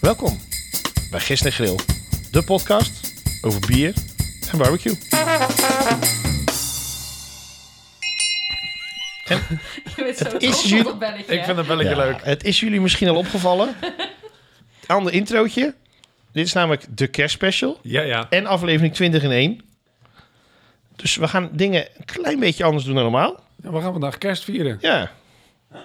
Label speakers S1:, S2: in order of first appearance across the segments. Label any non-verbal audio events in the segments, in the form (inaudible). S1: Welkom bij Gisteren Grill, de podcast over bier en barbecue.
S2: (laughs) Je weet zo
S3: Het is
S2: ook
S3: jul-
S2: nog een belletje.
S3: Ik vind het belletje
S1: Ja,
S3: leuk.
S1: Het is jullie misschien al opgevallen. (laughs) Ander introotje. Dit is namelijk de kerstspecial
S3: Ja, ja.
S1: en aflevering 20 in 1. Dus we gaan dingen een klein beetje anders doen dan normaal.
S3: Ja, We gaan vandaag kerst vieren.
S1: Ja.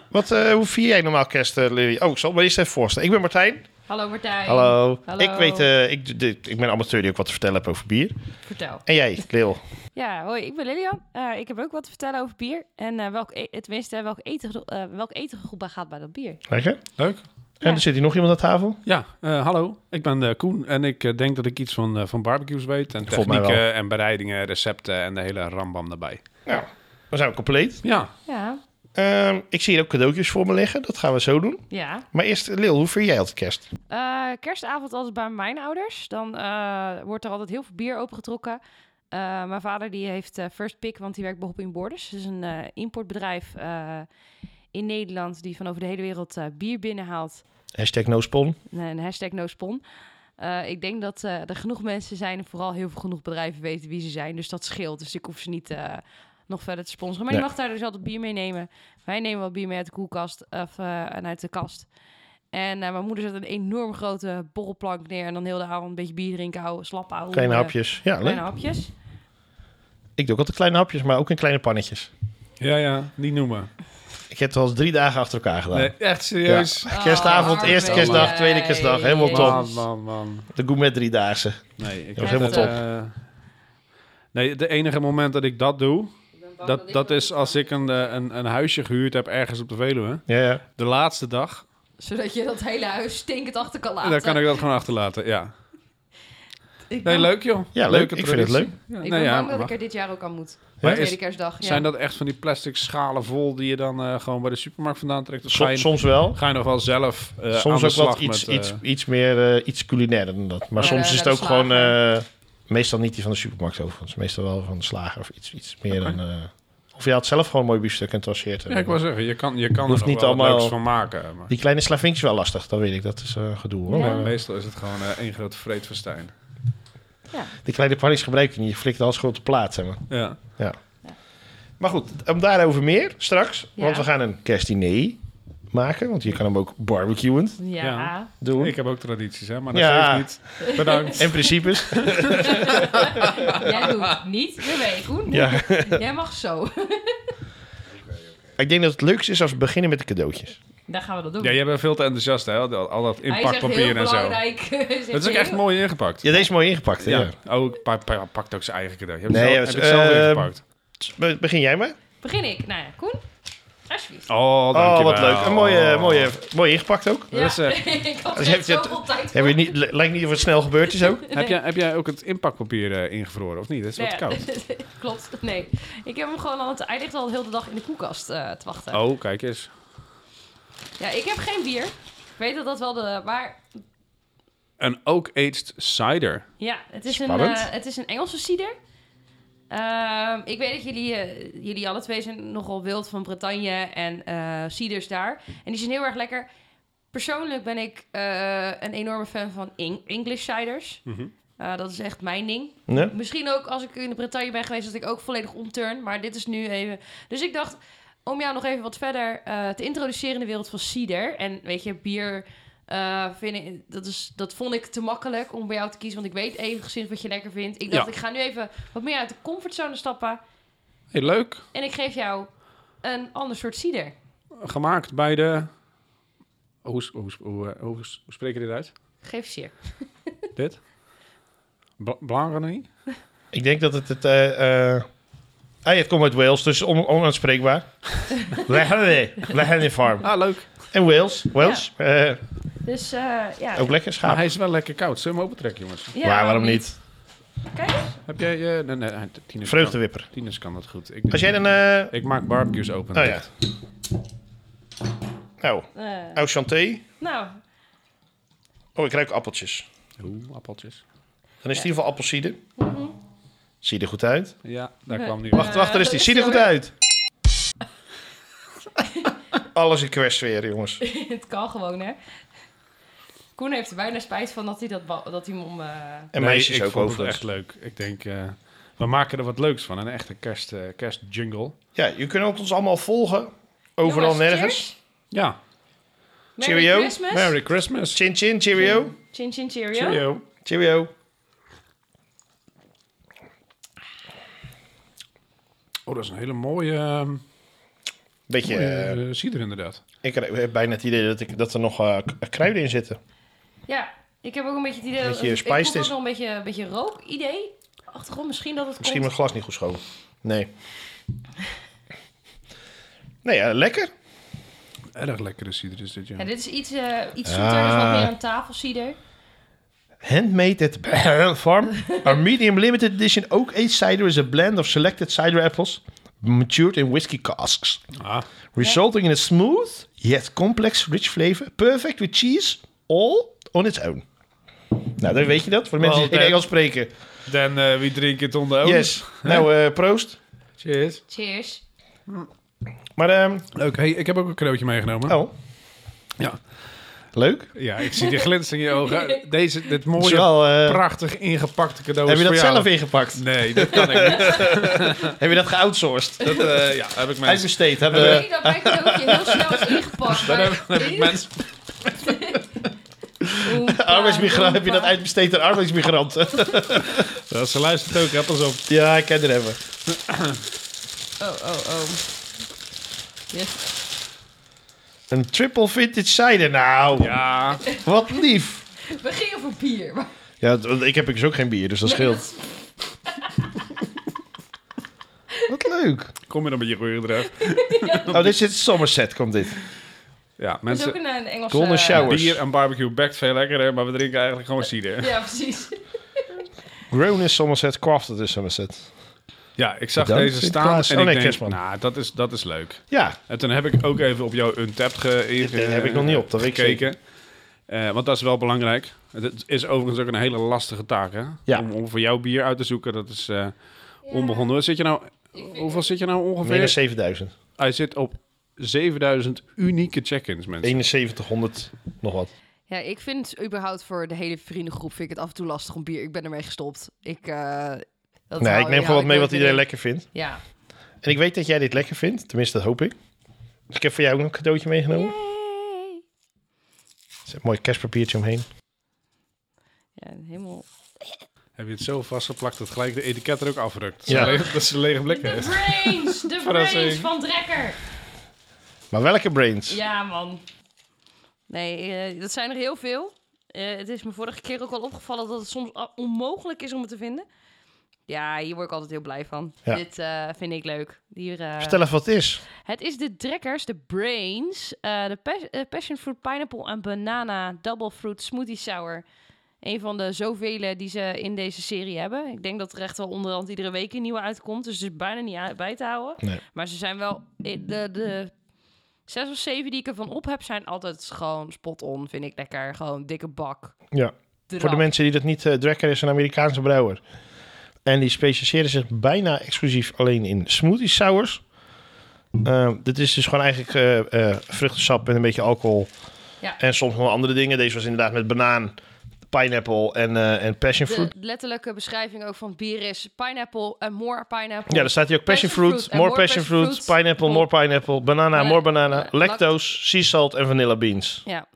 S1: Wat, eh, hoe vier jij normaal kerst, eh, Lily? Oh, ik zal me eerst even voorstellen. Ik ben Martijn.
S2: Hallo Martijn.
S1: Hallo.
S2: Hallo.
S1: Ik, weet, eh, ik, d- d- ik ben amateur die ook wat te vertellen heeft over bier.
S2: Vertel.
S1: En jij, Lil.
S4: Ja, hoi, ik ben Lilian. Eh, ik heb ook wat te vertellen over bier. En eh, welk, e tenminste, welk eten, eh welk etengevoel bij gaat bij dat bier?
S1: Lekker.
S3: Leuk.
S1: En er zit hier nog iemand aan tafel.
S3: Ja, eh, hallo. Ik ben eh, Koen en ik eh, denk dat ik iets van, eh, van barbecues weet. En
S1: Volgens mij wel.
S3: technieken en bereidingen, recepten en de hele rambam daarbij.
S1: Nou, dan zijn we compleet.
S3: Ja,
S4: Ja,
S1: Ehm, ik zie hier ook cadeautjes voor me liggen. Dat gaan we zo doen.
S4: ja.
S1: Maar eerst, Lil, hoe vier jij altijd kerst?
S4: Eh, kerstavond altijd bij mijn ouders. Dan eh, wordt er altijd heel veel bier opengetrokken. Eh, mijn vader die heeft eh, First Pick, want die werkt bij Hopping Borders. Dat is een eh, importbedrijf eh, in Nederland die van over de hele wereld eh, bier binnenhaalt.
S1: Hashtag nospon.
S4: Nee, Een hashtag no spon. Eh, ik denk dat eh, er genoeg mensen zijn en vooral heel veel genoeg bedrijven weten wie ze zijn. Dus dat scheelt. Dus ik hoef ze niet eh, nog verder te sponsoren. Maar je
S1: Nee.
S4: mag daar dus altijd bier mee nemen. Wij nemen wel bier mee uit de koelkast of, eh, en uit de kast. En eh, mijn moeder zet een enorm grote borrelplank neer. En dan heel de avond een beetje bier drinken, houden, slap houden.
S1: Kleine
S4: eh,
S1: hapjes. Ja, leuk.
S4: Kleine hapjes.
S1: Ik doe ook altijd kleine hapjes, maar ook in kleine pannetjes.
S3: ja, ja. Niet noemen.
S1: Ik heb het al eens drie dagen achter elkaar gedaan.
S3: Nee, echt serieus.
S4: Oh,
S1: Kerstavond,
S4: arme
S1: eerste
S3: arme
S1: kerstdag,
S4: jij.
S1: tweede kerstdag. Helemaal
S4: Jezus.
S1: top.
S3: Man, man, man.
S1: De gourmet driedaagse.
S3: Nee, ik
S1: Dat was
S3: heb,
S1: helemaal
S3: eh, nee, de enige moment dat ik dat doe, dat, dat is als ik een, eh, een, een huisje gehuurd heb ergens op de Veluwe.
S1: Ja, ja.
S3: De laatste dag.
S2: Zodat je dat hele huis stinkend achter kan laten.
S3: Dan kan ik dat gewoon achterlaten, ja.
S2: Ik
S3: Nee,
S2: ben-
S3: leuk joh.
S1: Ja, leuk.
S3: Leuke
S1: Ik vind het
S3: traditie. Ja,
S2: Ik
S3: nou
S2: ben
S3: ja,
S2: bang dat
S3: mag.
S2: ik er dit jaar ook aan moet.
S3: Maar
S2: Tweede
S3: is,
S2: kerstdag. Ja.
S3: zijn dat echt van die plastic schalen vol die je dan eh, gewoon bij de supermarkt vandaan trekt? Of ga
S1: Som-
S3: je,
S1: soms wel.
S3: ga je nog wel zelf eh aan
S1: soms
S3: de
S1: ook
S3: slag
S1: wat iets,
S3: met, eh,
S1: iets, iets meer eh iets culinairder dan dat. Maar
S2: Ja,
S1: soms
S2: ja,
S1: is het
S2: de
S1: ook
S2: slager.
S1: gewoon... eh, meestal niet die van de supermarkt overigens. Meestal wel van de slager of iets, iets meer
S3: Oké.
S1: dan... eh, of je had zelf gewoon een mooi biefstuk en tasseert.
S3: Ja, ik wil zeggen, je kan, je kan er
S1: Hoeft
S3: nog
S1: niet
S3: wel wat
S1: allemaal-
S3: leuks van maken. Maar
S1: Die kleine slavinkjes wel lastig, dat weet ik. Dat is eh, gedoe hoor.
S4: Ja.
S1: Maar, eh,
S3: meestal is het gewoon eh, één groot vreedfestijn.
S1: die kleine pannetjes gebruik je niet. Je flikt alles gewoon op de plaat, zeg maar.
S3: Ja.
S1: Maar goed, om daarover meer straks.
S4: Ja.
S1: Want we gaan een kerstdiner maken. Want je kan hem ook barbecuend
S4: Ja.
S3: Ja.
S1: doen.
S3: Ik heb ook tradities, hè, maar dat
S1: Ja.
S3: geeft niet. Bedankt.
S1: En (laughs) principes.
S2: Jij doet niet weer mee, Koen.
S1: ja.
S2: Jij mag zo.
S1: Ik denk dat het leukste is als we beginnen met de cadeautjes.
S2: Dan gaan we dat doen.
S3: Ja, jij bent veel te enthousiast, hè? Al, al dat
S2: Hij is echt heel
S3: inpakpapier en zo.
S2: belangrijk. (laughs)
S3: Dat is ook echt mooi ingepakt.
S1: Ja, deze is mooi ingepakt. hè?
S3: Ja.
S1: Ja.
S3: Oh, pa- pa- pakt ook zijn eigen cadeau. Je hebt
S1: Nee,
S3: zelf,
S1: ja,
S3: heb
S1: dus,
S3: ik zelf
S1: eh,
S3: ingepakt.
S1: Be- Begin jij maar.
S2: Begin ik. Nou ja, Koen. Alsjeblieft.
S3: Oh,
S1: Oh,
S3: dankjewel.
S1: wat leuk. Een mooie, mooie, mooi ingepakt ook.
S3: Dat is, eh,
S2: (laughs) ik had
S1: Dus
S2: er
S1: heb
S2: echt
S1: je het-
S2: zoveel tijd
S1: Heb je niet, li- lijkt niet of het snel gebeurd is ook.
S3: Heb, jij, heb jij ook het inpakpapier eh, ingevroren, of niet? Het is wat
S2: Nee,
S3: koud.
S2: Klopt, nee. Ik heb hem gewoon al... het- Hij ligt al de hele dag in de koelkast eh, te wachten.
S3: Oh, kijk eens.
S2: Ja, ik heb geen bier. Ik weet dat dat wel de... Maar
S3: Een oak aged cider.
S2: ja, het is, een,
S1: Spannend.
S2: eh, het is een Engelse cider. Ehm, ik weet dat jullie, eh, jullie alle twee zijn nogal wild van Bretagne en eh ciders daar. En die zijn heel erg lekker. Persoonlijk ben ik eh, een enorme fan van Eng- English ciders.
S1: Mhm.
S2: Eh, dat is echt mijn ding.
S1: Nee?
S2: Misschien ook als ik in de Bretagne ben geweest, dat ik ook volledig omturn. Maar dit is nu even. Dus ik dacht, om jou nog even wat verder eh, te introduceren in de wereld van cider. En weet je, bier. eh, vind ik, dat, is, dat vond ik te makkelijk om bij jou te kiezen. Want ik weet enigszins wat je lekker vindt. Ik dacht,
S3: Ja.
S2: ik ga nu even wat meer uit de comfortzone stappen.
S3: Hey, leuk.
S2: En ik geef jou een ander soort cider.
S3: Gemaakt bij de... Hoe, s- hoe, s- hoe, eh, hoe, s- hoe spreek je dit uit?
S2: Geef cider.
S3: dit? Bla- Blangarnie?
S1: Ik denk dat het het... eh, eh, ah, het komt uit Wales, dus on, onaanspreekbaar. (laughs) Legendary. Legendary Farm.
S3: Ah, leuk.
S1: En Wales. Wales. eh,
S2: Dus eh, ja.
S1: ook lekker
S3: Maar
S1: schaap.
S3: hij is wel lekker koud. Zullen we hem opentrekken, jongens?
S2: ja.
S1: maar Oh, waarom niet?
S3: Heb jij... eh, nee, nee, hij- tieners kan,
S1: Vreugdewipper.
S3: tieners kan dat goed. Ik,
S1: Als jij dan... eh
S3: Ik maak barbecues open.
S1: oh ja. Nou,
S2: Eh,
S1: au chanté.
S2: nou,
S1: Oh, ik ruik appeltjes.
S3: Oeh, appeltjes.
S1: Dan is het in ieder geval appelsieder. Ziet er goed uit.
S3: Ja, daar kwam die.
S1: Wacht, wacht, er is die. Ziet er goed uit. Alles in kwestsfeer, jongens.
S4: (laughs)
S2: het kan gewoon, hè?
S4: Koen heeft er bijna spijt van dat hij, dat ba- dat hij hem om... eh,
S1: En
S3: Nee,
S1: meisjes
S3: ik
S1: ook
S3: vond
S1: overigens.
S3: het echt leuk. Ik denk, eh, we maken er wat leuks van. Een echte kerst, eh, kerstjungle.
S1: Ja, je kunt ons allemaal volgen. Overal
S4: Jongens,
S1: nergens.
S4: cheers.
S3: Ja.
S4: Merry
S1: Cheerio.
S4: Christmas.
S3: Merry Christmas.
S1: Chin chin, cheerio.
S4: Chin chin cheerio.
S3: Cheerio.
S1: Cheerio.
S3: Oh, dat is een hele mooie, ehm
S1: Beetje, eh,
S3: mooie, eh, cider inderdaad.
S1: ik heb bijna het idee dat, ik, dat er nog eh, k- kruiden in zitten.
S4: Ja, ik heb ook een beetje het idee
S1: Beetje
S4: dat... Ik
S1: spiced
S4: proef ook
S1: is.
S4: nog een beetje, een beetje rook-idee. Achtergrond, misschien dat het
S1: Misschien
S4: komt.
S1: mijn glas niet goed schoon. Nee. Nee, ja, lekker.
S3: Erg lekkere cider is dit, ja.
S4: Ja, dit is iets, eh, iets zoeter, dus wat
S1: Ah.
S4: meer aan tafel cider.
S1: Handmade at (laughs) Farm. Our medium limited edition oak aged cider is a blend of selected cider apples matured in whiskey casks,
S3: Ah,
S1: resulting in a smooth yet complex rich flavor, perfect with cheese, all on its own. Nou, dan weet je dat. Voor de mensen die
S3: Well,
S1: geen Engels spreken.
S3: dan eh, wie drinkt het onder ogen?
S1: Yes. Nou, eh, proost.
S3: Cheers.
S4: Cheers.
S1: Maar, ehm,
S3: Leuk. Hey, ik heb ook een cadeautje meegenomen.
S1: oh.
S3: Hm. Ja.
S1: Leuk.
S3: Ja, ik zie die glitsen in je
S4: (laughs)
S3: ogen. Deze, dit
S1: Het is
S3: mooie,
S1: wel, eh,
S3: prachtig ingepakte cadeau
S1: heb
S3: is
S1: je dat
S3: voor jou.
S1: zelf ingepakt?
S3: Nee, dat kan ik niet.
S1: Heb je dat geoutsourced?
S3: Dat eh, ja, heb ik mensen
S1: (laughs) Uitbesteed. Hebben,
S4: Ik denk dat mijn cadeautje heel snel
S1: (laughs)
S4: is ingepakt.
S3: Dan
S4: maar-
S3: heb, dan heb ik mensen.
S4: Oempa,
S1: (laughs)
S3: (laughs)
S1: arbeidsmigrant, heb je dat
S4: oempa.
S1: uitbesteed aan arbeidsmigranten?
S3: Ja, ze luistert ook, hè, pas op.
S1: ja, ik ken er hebben.
S4: Oh, oh, oh. Yes.
S1: Een triple vintage cider. Nou,
S3: Ja,
S1: wat lief.
S4: We gingen voor bier. maar-
S1: Ja, d- want ik heb dus ook geen bier, dus dat
S4: (laughs)
S1: scheelt. Wat (laughs) leuk.
S3: kom je dan met je geur eraf.
S1: Oh, dit zit Somerset, komt dit.
S3: Ja,
S4: Dat is ook
S3: mensen,
S4: een, een Engelse...
S1: Golden shower.
S3: bier en barbecue bakt veel lekkerder, maar we drinken eigenlijk gewoon
S4: (laughs)
S3: cider.
S4: Ja, precies.
S1: Grown in Somerset, crafted in Somerset.
S3: Ja, ik zag
S1: Bedankt,
S3: deze staan
S1: Sinterklaas.
S3: en
S1: Oh,
S3: ik
S1: nee,
S3: denk,
S1: kerstman.
S3: nou, dat, is, dat is leuk.
S1: Ja,
S3: En toen heb ik ook even op jouw Untapped ge, inge-
S1: Dit heb ik nog niet op, dat weet ik
S3: gekeken. Eh, want dat is wel belangrijk. Het is overigens ook een hele lastige taak, hè?
S1: Ja.
S3: Om, om voor jouw bier uit te zoeken, dat is eh onbegonnen. Zit je nou, hoeveel zit je nou
S1: meer dan
S4: eh,
S3: ongeveer?
S1: 7000.
S3: Hij zit op 7000 unieke check-ins, mensen.
S1: 7100, nog wat.
S4: Ja, ik vind het überhaupt voor de hele vriendengroep vind ik het af en toe lastig om bier. Ik ben ermee gestopt. Ik, eh, dat
S1: Nee,
S4: hou-
S1: ik neem
S4: ja,
S1: gewoon wat mee
S4: nooit
S1: wat iedereen
S4: meer
S1: lekker vindt.
S4: in. Ja.
S1: En ik weet dat jij dit lekker vindt, tenminste dat hoop ik. Dus ik heb voor jou ook nog een cadeautje meegenomen.
S4: Yay.
S1: Er zit een mooi kerstpapiertje omheen.
S4: Ja, helemaal...
S3: Heb je het zo vastgeplakt dat gelijk de etiket er ook afrukt?
S1: Ja.
S3: Dat ze een- Dat ze een lege blik
S4: De
S3: heeft.
S1: (laughs)
S4: brains! De
S3: Verrassing.
S4: brains van Drekker!
S1: Maar welke brains?
S4: Ja, man. Nee, eh, dat zijn er heel veel. Eh, het is me vorige keer ook al opgevallen dat het soms a- onmogelijk is om het te vinden. Ja, hier word ik altijd heel blij van.
S1: Ja.
S4: Dit eh, vind ik leuk. Hier, eh,
S1: Vertel even wat het is.
S4: Het is de Drekkers, de Brains, eh, de pas- eh, Passion Fruit Pineapple en Banana Double Fruit Smoothie Sour. Een van de zoveel die ze in deze serie hebben. Ik denk dat er echt wel onderhand iedere week een nieuwe uitkomt. Dus het is bijna niet uit- bij te houden.
S1: Nee.
S4: Maar ze zijn wel... eh, De, de zes of zeven die ik ervan op heb, zijn altijd gewoon spot on. Vind ik lekker. Gewoon dikke bak.
S1: Ja. Voor de
S4: Drap.
S1: mensen die dat niet... eh Drekker is een Amerikaanse brouwer. En die specialiseren zich bijna exclusief alleen in smoothie sours. Eh, dit is dus gewoon eigenlijk eh, eh, vruchtensap met een beetje alcohol.
S4: Ja.
S1: En soms nog wel andere dingen. Deze was inderdaad met banaan, pineapple en, eh, en passion
S4: De
S1: fruit.
S4: letterlijke beschrijving ook van het bier is pineapple en more pineapple.
S1: Ja, daar staat hier ook passion,
S4: Passion
S1: fruit,
S4: fruit en
S1: more
S4: more
S1: passion
S4: passion
S1: fruit,
S4: fruit.
S1: pineapple, more pineapple, banana,
S4: Eh,
S1: more banana,
S4: eh,
S1: lactose, sea salt en vanilla beans.
S4: Ja.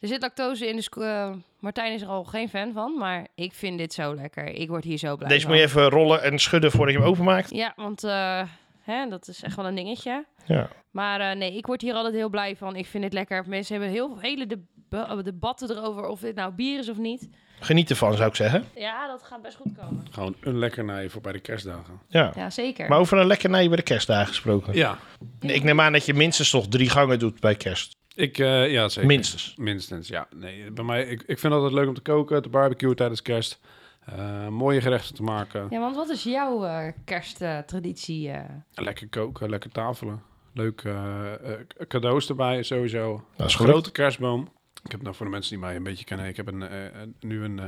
S4: Er zit lactose in, dus eh, Martijn is er al geen fan van. Maar ik vind dit zo lekker. Ik word hier zo blij
S1: Deze
S4: van.
S1: moet je even rollen en schudden voordat je hem openmaakt.
S4: Ja, want eh, hè, dat is echt wel een dingetje.
S1: Ja.
S4: Maar eh, nee, ik word hier altijd heel blij van. Ik vind het lekker. Mensen hebben heel hele deb- debatten erover of dit nou bier is of niet.
S1: Geniet ervan, zou ik zeggen.
S4: Ja, dat gaat best goed komen.
S3: Gewoon een lekkernij voor bij de kerstdagen.
S1: Ja.
S4: Ja, zeker.
S1: Maar over een lekkernij bij de kerstdagen gesproken.
S3: Ja,
S1: Ik neem aan dat je minstens toch drie gangen doet bij kerst.
S3: ik, eh, ja zeker.
S1: Minstens.
S3: Minstens, ja. Nee, bij mij, ik, ik vind het altijd leuk om te koken, te barbecuen tijdens kerst. Eh, mooie gerechten te maken.
S4: Ja, want wat is jouw eh, kersttraditie? eh?
S3: Lekker koken, lekker tafelen. Leuk eh, eh, cadeaus erbij sowieso.
S1: Dat is
S3: Een
S1: goed.
S3: grote kerstboom. Ik heb nou voor de mensen die mij een beetje kennen, ik heb een, eh, een- nu een, eh,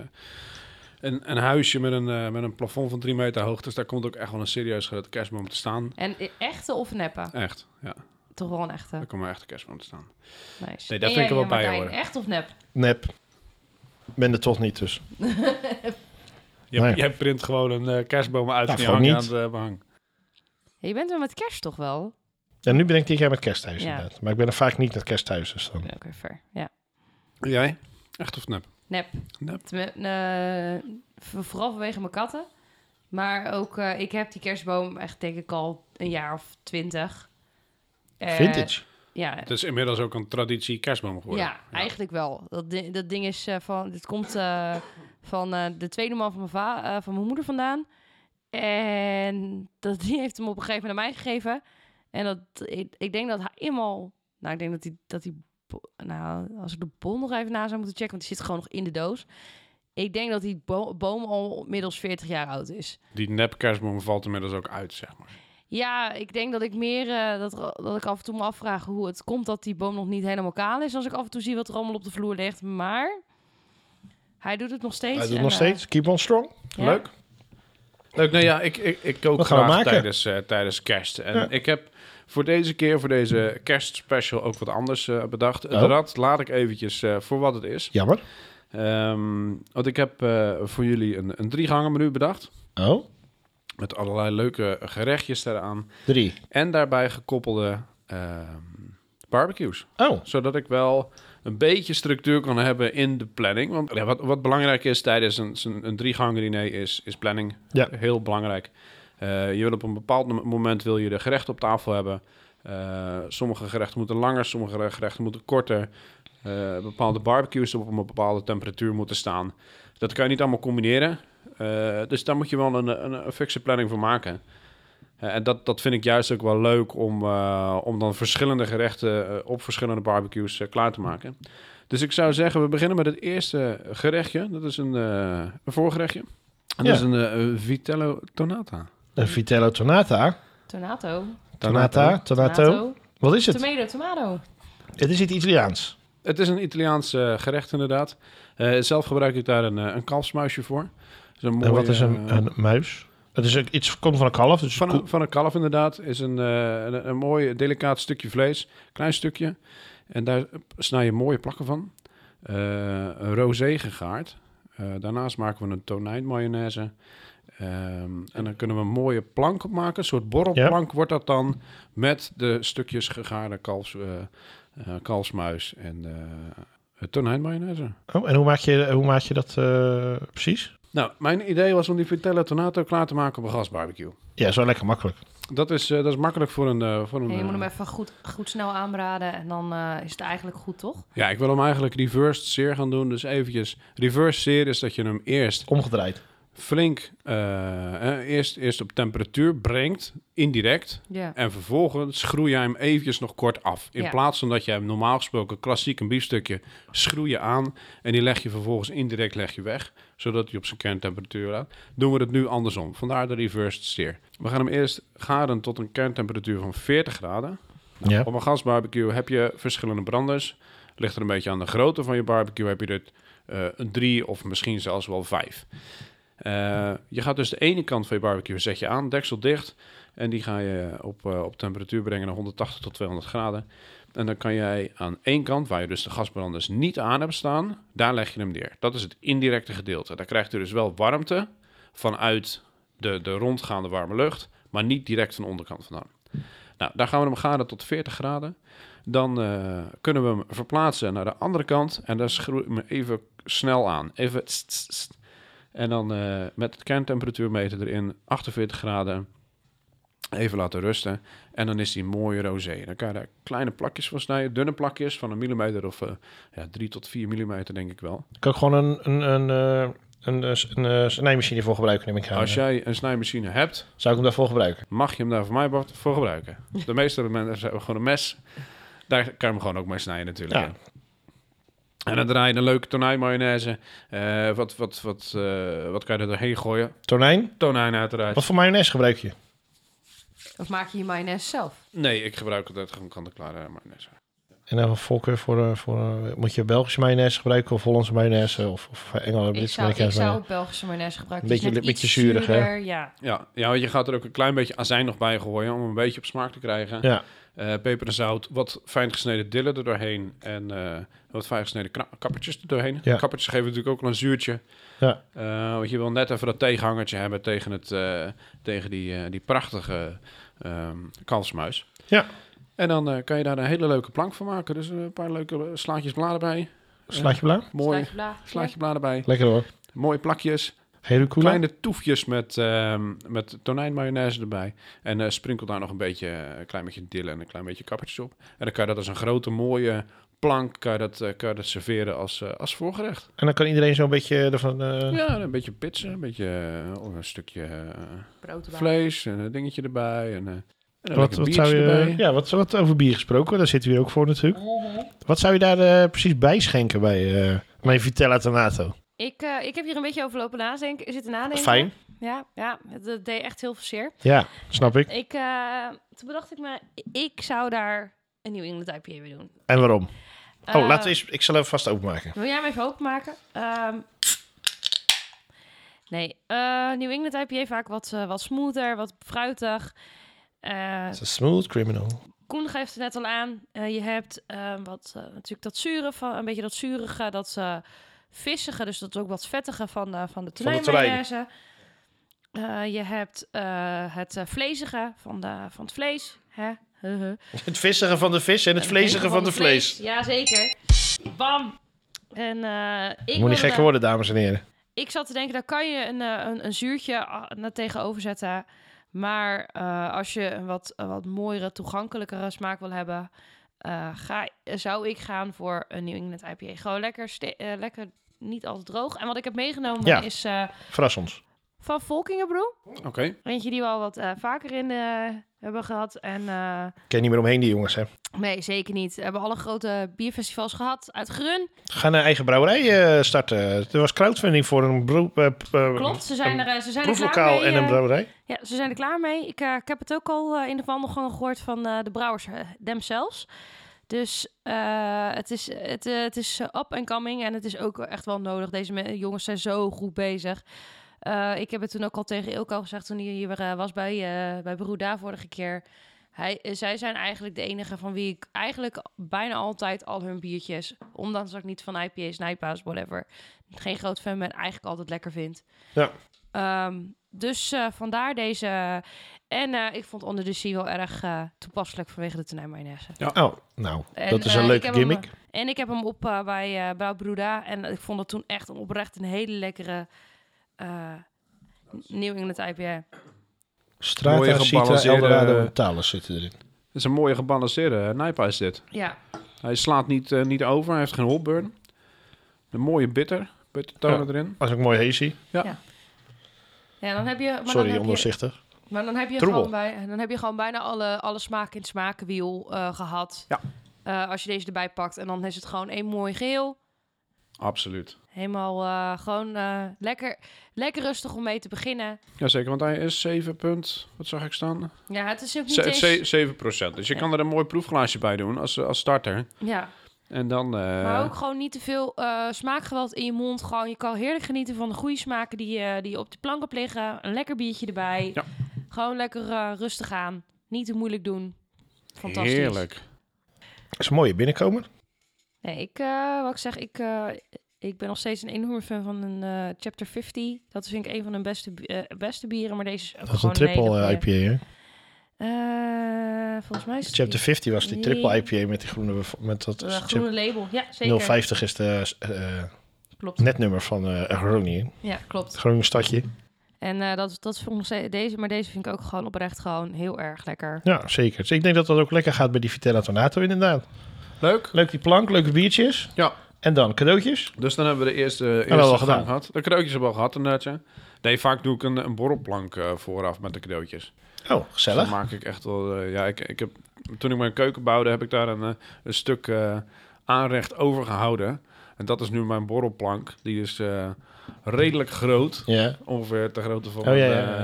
S3: een, een huisje met een, eh, met een plafond van drie meter hoog. Dus daar komt ook echt wel een serieus grote kerstboom te staan.
S4: en eh, echte of neppen?
S3: Echt, ja.
S4: Toch wel een echte.
S3: Daar komt een echte kerstboom te staan.
S4: Nice.
S3: Nee, daar En vind ik er jij, wel bij Martijn, horen.
S4: Echt of nep?
S1: Nep. ben er toch niet dus.
S3: Je,
S1: Nee.
S3: Jij print gewoon een eh, kerstboom uit
S1: Nou,
S3: en je
S1: gewoon
S3: hangt aan
S1: niet.
S3: het eh, behang.
S4: Ja, je bent wel met kerst toch wel?
S1: En nu ben ik dit jaar met kersthuis
S4: Ja.
S1: inderdaad. Maar ik ben er vaak niet met kersthuis. Dus dan.
S4: Oké, fair. Ja.
S3: Jij? Echt of nep?
S2: Nep.
S3: Nep.
S2: Tenmin- eh, v- vooral vanwege mijn katten. Maar ook, eh, ik heb die kerstboom echt denk ik al een jaar of twintig. Eh,
S1: Vintage.
S2: Ja,
S3: Het is inmiddels ook een traditie kerstboom geworden.
S2: ja, eigenlijk wel. Dat, di- dat ding is eh, van, dit komt eh, van eh, de tweede man van mijn, va- eh, van mijn moeder vandaan. En dat, die heeft hem op een gegeven moment aan mij gegeven. En dat, ik, ik denk dat hij eenmaal, nou ik denk dat hij, dat hij, bo- nou als ik de bon nog even na zou moeten checken, want die zit gewoon nog in de doos. Ik denk dat die bo- boom al middels 40 jaar oud is.
S3: Die nep kerstboom valt inmiddels ook uit, zeg maar.
S2: Ja, ik denk dat ik meer eh, dat, er- dat ik af en toe me afvraag hoe het komt dat die boom nog niet helemaal kaal is. Als ik af en toe zie wat er allemaal op de vloer ligt. Maar hij doet het nog steeds.
S1: Hij doet
S2: en,
S1: nog
S2: eh,
S1: steeds. Keep on strong.
S2: ja.
S3: Leuk. Leuk, nou ja, ik, ik, ik kook
S1: Wat gaan we
S3: graag
S1: maken?
S3: Tijdens, eh, tijdens kerst. En
S1: Ja.
S3: ik heb voor deze keer, voor deze kerstspecial, ook wat anders eh, bedacht.
S1: Oh.
S3: Het rad laat ik eventjes eh, voor wat het is.
S1: Jammer.
S3: Ehm, want ik heb eh, voor jullie een, een driegangen menu bedacht.
S1: Oh,
S3: Met allerlei leuke gerechtjes eraan.
S1: drie.
S3: En daarbij gekoppelde ehm, barbecues.
S1: Oh,
S3: Zodat ik wel een beetje structuur kan hebben in de planning. Want ja, wat, wat belangrijk is tijdens een, een, een driegangen diner is, is planning.
S1: Ja.
S3: Heel belangrijk. Eh, je wil op een bepaald mo- moment wil je de gerechten op tafel hebben. Eh, sommige gerechten moeten langer, sommige gerechten moeten korter. Eh, bepaalde barbecues op een bepaalde temperatuur moeten staan. Dat kan je niet allemaal combineren. Eh, dus daar moet je wel een, een, een fixe planning voor maken. Eh, en dat, dat vind ik juist ook wel leuk om, eh, om dan verschillende gerechten eh, op verschillende barbecues eh, klaar te maken. Dus ik zou zeggen, we beginnen met het eerste gerechtje. Dat is een, eh, een voorgerechtje.
S1: Ja.
S3: En dat is een eh, Vitello Tonata.
S1: een Vitello Tonata.
S2: Tonato.
S1: Tonata, Tonato.
S2: Tomato.
S1: Wat is het?
S2: Tomato, tomato.
S1: Het is iets Italiaans.
S3: Het is een Italiaans eh, gerecht inderdaad. Eh, zelf gebruik ik daar een, eh, een kalfsmuisje voor. Dus een
S1: en wat
S3: mooie,
S1: is een,
S3: eh,
S1: een muis? Het is ook iets komt van een kalf. Dus
S3: Van een, van een kalf inderdaad. Is een, eh, een, een mooi delicaat stukje vlees. Klein stukje. En daar snij je mooie plakken van. Eh, een rosé gegaard. Eh, daarnaast maken we een tonijnmayonaise. Ehm, en dan kunnen we een mooie plank op maken. Een soort borrelplank wordt dat dan. Met de stukjes gegaarde kalfs, eh, eh, kalfsmuis en eh tonijnmayonaise.
S1: Oh, en hoe maak je, hoe maak je dat eh, precies?
S3: Nou, mijn idee was om die vitella tonato klaar te maken op een gasbarbecue.
S1: Ja, zo lekker makkelijk.
S3: Dat is, eh, dat is makkelijk voor een... eh, voor een
S2: En je moet
S3: eh,
S2: hem even goed, goed snel aanbraden. En dan eh, is het eigenlijk goed, toch?
S3: Ja, ik wil hem eigenlijk reversed sear gaan doen. Dus eventjes, reverse sear is dat je hem eerst
S1: Omgedraaid.
S3: flink, eh, eh, eerst, eerst op temperatuur brengt, indirect.
S2: Ja.
S3: En vervolgens schroei je hem eventjes nog kort af. In
S2: Ja.
S3: plaats van dat je hem normaal gesproken klassiek een biefstukje schroei je aan. En die leg je vervolgens indirect leg je weg. Zodat hij op zijn kerntemperatuur laat. Doen we het nu andersom. Vandaar de reversed sear. We gaan hem eerst garen tot een kerntemperatuur van 40 graden.
S1: Ja.
S3: Op een gasbarbecue heb je verschillende branders. Ligt er een beetje aan de grootte van je barbecue. Heb je er eh, een drie of misschien zelfs wel vijf. Eh, je gaat dus de ene kant van je barbecue zet je aan, deksel dicht. En die ga je op, eh, op temperatuur brengen naar 180 tot 200 graden. En dan kan jij aan één kant, waar je dus de gasbranders niet aan hebt staan, daar leg je hem neer. Dat is het indirecte gedeelte. Daar krijgt u dus wel warmte vanuit de, de rondgaande warme lucht, maar niet direct van de onderkant vandaan. Nou, daar gaan we hem garen tot 40 graden. Dan eh, kunnen we hem verplaatsen naar de andere kant. En daar schroei ik hem even snel aan. Even. tss, tss, tss. En dan eh, met het kerntemperatuurmeter erin, 48 graden. Even laten rusten. En dan is die mooie rosé. Dan kan je daar kleine plakjes van snijden. Dunne plakjes van een millimeter of eh ja, 3 tot 4 millimeter, denk ik wel.
S1: Kan ik gewoon een, een, een, eh, een, eh, s- een, eh, snijmachine voor gebruiken, neem ik aan.
S3: Als jij een snijmachine hebt,
S1: Zou ik hem daarvoor gebruiken?
S3: mag je hem daar voor mij wat voor gebruiken. De meeste mensen hebben gewoon een mes. Daar kan je hem gewoon ook mee snijden natuurlijk.
S1: Ja.
S3: hè. En dan draai je een leuke tonijnmayonaise. Eh, wat, wat, wat, eh, wat kan je er doorheen gooien?
S1: Tonijn?
S3: Tonijn uiteraard.
S1: Wat voor mayonaise gebruik je?
S2: Of maak je je mayonaise zelf?
S3: Nee, ik gebruik altijd gewoon kant-en-klare eh, mayonaise.
S1: En dan voorkeur voor, eh, voor eh, moet je Belgische mayonaise gebruiken of Hollandse mayonaise of, of eh, Engelse
S2: Ik
S1: Britse
S2: zou, ik
S1: mayonaise.
S2: zou ook Belgische mayonaise gebruiken.
S1: Een
S2: Die is
S1: beetje-
S2: net
S1: beetje
S2: iets
S1: zuurig, hè?
S2: zuurder, Ja.
S3: Ja, ja, want je gaat er ook een klein beetje azijn nog bij gooien om een beetje op smaak te krijgen.
S1: Ja.
S3: Eh, peper en zout, wat fijn gesneden dillen er doorheen en eh, wat fijn gesneden kna- kappertjes er doorheen.
S1: Ja.
S3: Kappertjes geven natuurlijk ook wel een zuurtje.
S1: Ja.
S3: Eh, want je wil net even dat tegenhangertje hebben tegen, het, eh, tegen die, eh, die prachtige ehm kalfsmuis.
S1: Ja.
S3: En dan eh, kan je daar een hele leuke plank van maken. Dus een paar leuke slaatjes bladen bij. Eh,
S1: Slaatje blauw?
S3: Mooi
S2: Slaatje bla.
S3: slaatje bladen bij.
S1: Lekker hoor.
S3: Mooie plakjes.
S1: Hele cool.
S3: Kleine toefjes met, ehm met tonijnmayonaise erbij. En eh, sprinkel daar nog een beetje, eh, een klein beetje dille en een klein beetje kappertjes op. En dan kan je dat als een grote mooie plank kan je dat, eh, kan je dat serveren als, eh, als voorgerecht.
S1: En dan kan iedereen zo'n beetje ervan... eh,
S3: Ja, en een beetje pitsen, een beetje eh, of een stukje eh,
S2: Brood erbij.
S3: vlees en een dingetje erbij. En, eh, en een
S1: wat,
S3: lekker
S1: wat
S3: biertje
S1: zou je...
S3: erbij.
S1: Ja, wat, wat over bier gesproken, daar zitten we hier ook voor natuurlijk. Wat zou je daar eh, precies bij schenken bij, eh bij Vitella Tonato?
S4: Ik, eh, ik heb hier een beetje over lopen nadenken, zitten nadenken.
S1: Fijn.
S4: Ja, ja, het, het deed echt heel veel zeer.
S1: Ja, snap ik.
S4: Ik, eh, toen bedacht ik me, ik zou daar een New England IPA mee doen.
S1: En waarom?
S4: Eh,
S1: oh, laten we eens... Ik zal even vast openmaken.
S4: Wil jij hem even openmaken? Ehm nee, eh, New England IPA vaak wat, eh, wat smoother, wat fruitig. Eh,
S1: It's a smooth criminal.
S4: Koen geeft het net al aan. Eh, je hebt eh, wat, eh, natuurlijk dat zure, van, een beetje dat zurige, dat eh vissige, dus dat ook wat vettige van, eh, van de
S1: terrein.
S4: tonijnmayonaise. Eh je hebt eh, het eh, vlezige van, de, van het vlees. Hè? Huh, huh.
S1: (laughs) Het vissige van de vis en het vlezige van de vlees.
S4: Ja, zeker. Bam! En, eh, ik
S1: Moet
S4: wilde
S1: niet gek
S4: daar-
S1: worden, dames en heren.
S4: ik zat te denken, daar kan je een, eh, een, een zuurtje ah, naar tegenover zetten. Maar eh, als je een wat, een wat mooiere, toegankelijkere smaak wil hebben, eh, ga, zou ik gaan voor een New England IPA. Gewoon lekker, ste- eh, lekker niet altijd droog. En wat ik heb meegenomen
S1: Ja.
S4: is eh,
S1: Verras ons.
S4: van Volkingenbroe.
S3: Oké,
S4: Eentje die we al wat eh, vaker in eh, hebben gehad. En eh,
S1: Ken je niet meer omheen, die jongens, hè?
S4: nee, zeker niet. We hebben alle grote bierfestivals gehad uit Grun.
S1: Ga een eigen brouwerij eh, starten. Er was crowdfunding voor een broep, eh, p- eh,
S4: Klopt, ze zijn er, eh, ze zijn er klaar
S1: proeflokaal
S4: mee.
S1: en een
S4: eh,
S1: brouwerij.
S4: Ja, ze zijn er klaar mee. Ik, eh, ik heb het ook al eh, in de wandelgang gehoord van eh, de brouwers eh, themselves. Dus eh, het is, het, eh, het is eh, up and coming en het is ook echt wel nodig. Deze me- jongens zijn zo goed bezig. Eh, ik heb het toen ook al tegen Ilko gezegd toen hij hier eh, was bij, eh bij Beroeda vorige keer. Hij, eh, zij zijn eigenlijk de enige van wie ik eigenlijk bijna altijd al hun biertjes, ondanks dat ik niet van IPA's, Nijpa's, whatever, geen groot fan ben, eigenlijk altijd lekker vind.
S1: Ja.
S4: Ehm, dus eh, vandaar deze. En eh, ik vond Onder de Sea wel erg eh, toepasselijk vanwege de tonijnmayonaise.
S1: Oh, nou,
S4: En,
S1: dat is
S4: eh,
S1: een
S4: ik
S1: leuke
S4: heb hem,
S1: gimmick.
S4: En ik heb hem op eh, bij eh Brouw Bruda. En ik vond dat toen echt een oprecht een hele lekkere eh New England IPA.
S1: Strata,
S3: Mooie
S1: Citra,
S3: gebalanceerde-
S1: Eldorado en Thales zitten erin.
S3: dat is een mooie gebalanceerde eh, nijpa is dit.
S4: Ja,
S3: Hij slaat niet, eh, niet over, hij heeft geen hopburn. Een mooie bitter, bittertonen
S1: Ja.
S3: erin.
S1: Dat is ook mooi hazy.
S4: ja dan heb je, maar
S1: Sorry,
S4: dan heb je,
S1: ondoorzichtig.
S4: maar dan heb je
S1: Troebel.
S4: gewoon, bij, dan heb je gewoon bijna alle, alle smaken in het smakenwiel eh, gehad.
S3: Ja.
S4: Eh, als je deze erbij pakt. En dan is het gewoon één mooi geel.
S3: Absoluut.
S4: Helemaal eh, gewoon eh, lekker, lekker rustig om mee te beginnen.
S3: Jazeker, want hij is 7 punt, wat zag ik staan?
S4: Ja, het is ook niet
S3: Ze-
S4: eens...
S3: ze- 7 procent. Dus je
S4: Ja.
S3: kan er een mooi proefglaasje bij doen als, als starter.
S4: Ja,
S3: En dan... eh,
S4: maar ook gewoon niet te veel eh, smaakgeweld in je mond. Gewoon, je kan heerlijk genieten van de goede smaken die, eh, die op de plank hebt liggen. Een lekker biertje erbij.
S3: Ja.
S4: Gewoon lekker eh, rustig aan. Niet te moeilijk doen. Fantastisch.
S3: Heerlijk.
S1: Dat is een mooie binnenkomer.
S4: Nee, ik, eh, wat ik zeg, ik, eh, ik ben nog steeds een enorme fan van een eh, Chapter 50. Dat vind ik een van hun beste, bi- eh, beste bieren. Maar deze is ook
S1: Dat is
S4: gewoon
S1: een triple
S4: hele
S1: eh,
S4: goeie.
S1: IPA, hè?
S4: Eh, volgens mij is het
S1: Chapter 50 was die triple
S4: Nee.
S1: IPA met die groene... bev- Met dat
S4: eh,
S1: chap-
S4: groene label. Ja, zeker.
S1: 050 is de eh, eh,
S4: Klopt.
S1: netnummer van eh Groningen.
S4: Ja, klopt.
S1: Groningen stadje.
S4: En eh, dat, dat vond ik nog steeds- deze, maar deze vind ik ook gewoon oprecht gewoon heel erg lekker.
S1: Ja, zeker. Dus ik denk dat dat ook lekker gaat bij die Vitella Tornato inderdaad.
S3: Leuk.
S1: Leuk die plank, leuke biertjes.
S3: Ja.
S1: En dan cadeautjes.
S3: Dus dan hebben we de eerste, eerste
S1: al
S3: gang
S1: gedaan.
S3: gehad. De cadeautjes hebben we al gehad, inderdaad. ja. Nee, vaak doe ik een, een borrelplank eh, vooraf met de cadeautjes.
S1: Oh,
S3: Dus
S1: gezellig.
S3: dan maak ik echt wel... eh, ja, ik, ik heb, toen ik mijn keuken bouwde, heb ik daar een, eh, een stuk eh, aanrecht overgehouden. En dat is nu mijn borrelplank. Die is eh, redelijk groot.
S1: Ja.
S3: Ongeveer de grootte van,
S1: Oh, ja,
S3: een,
S1: ja, ja.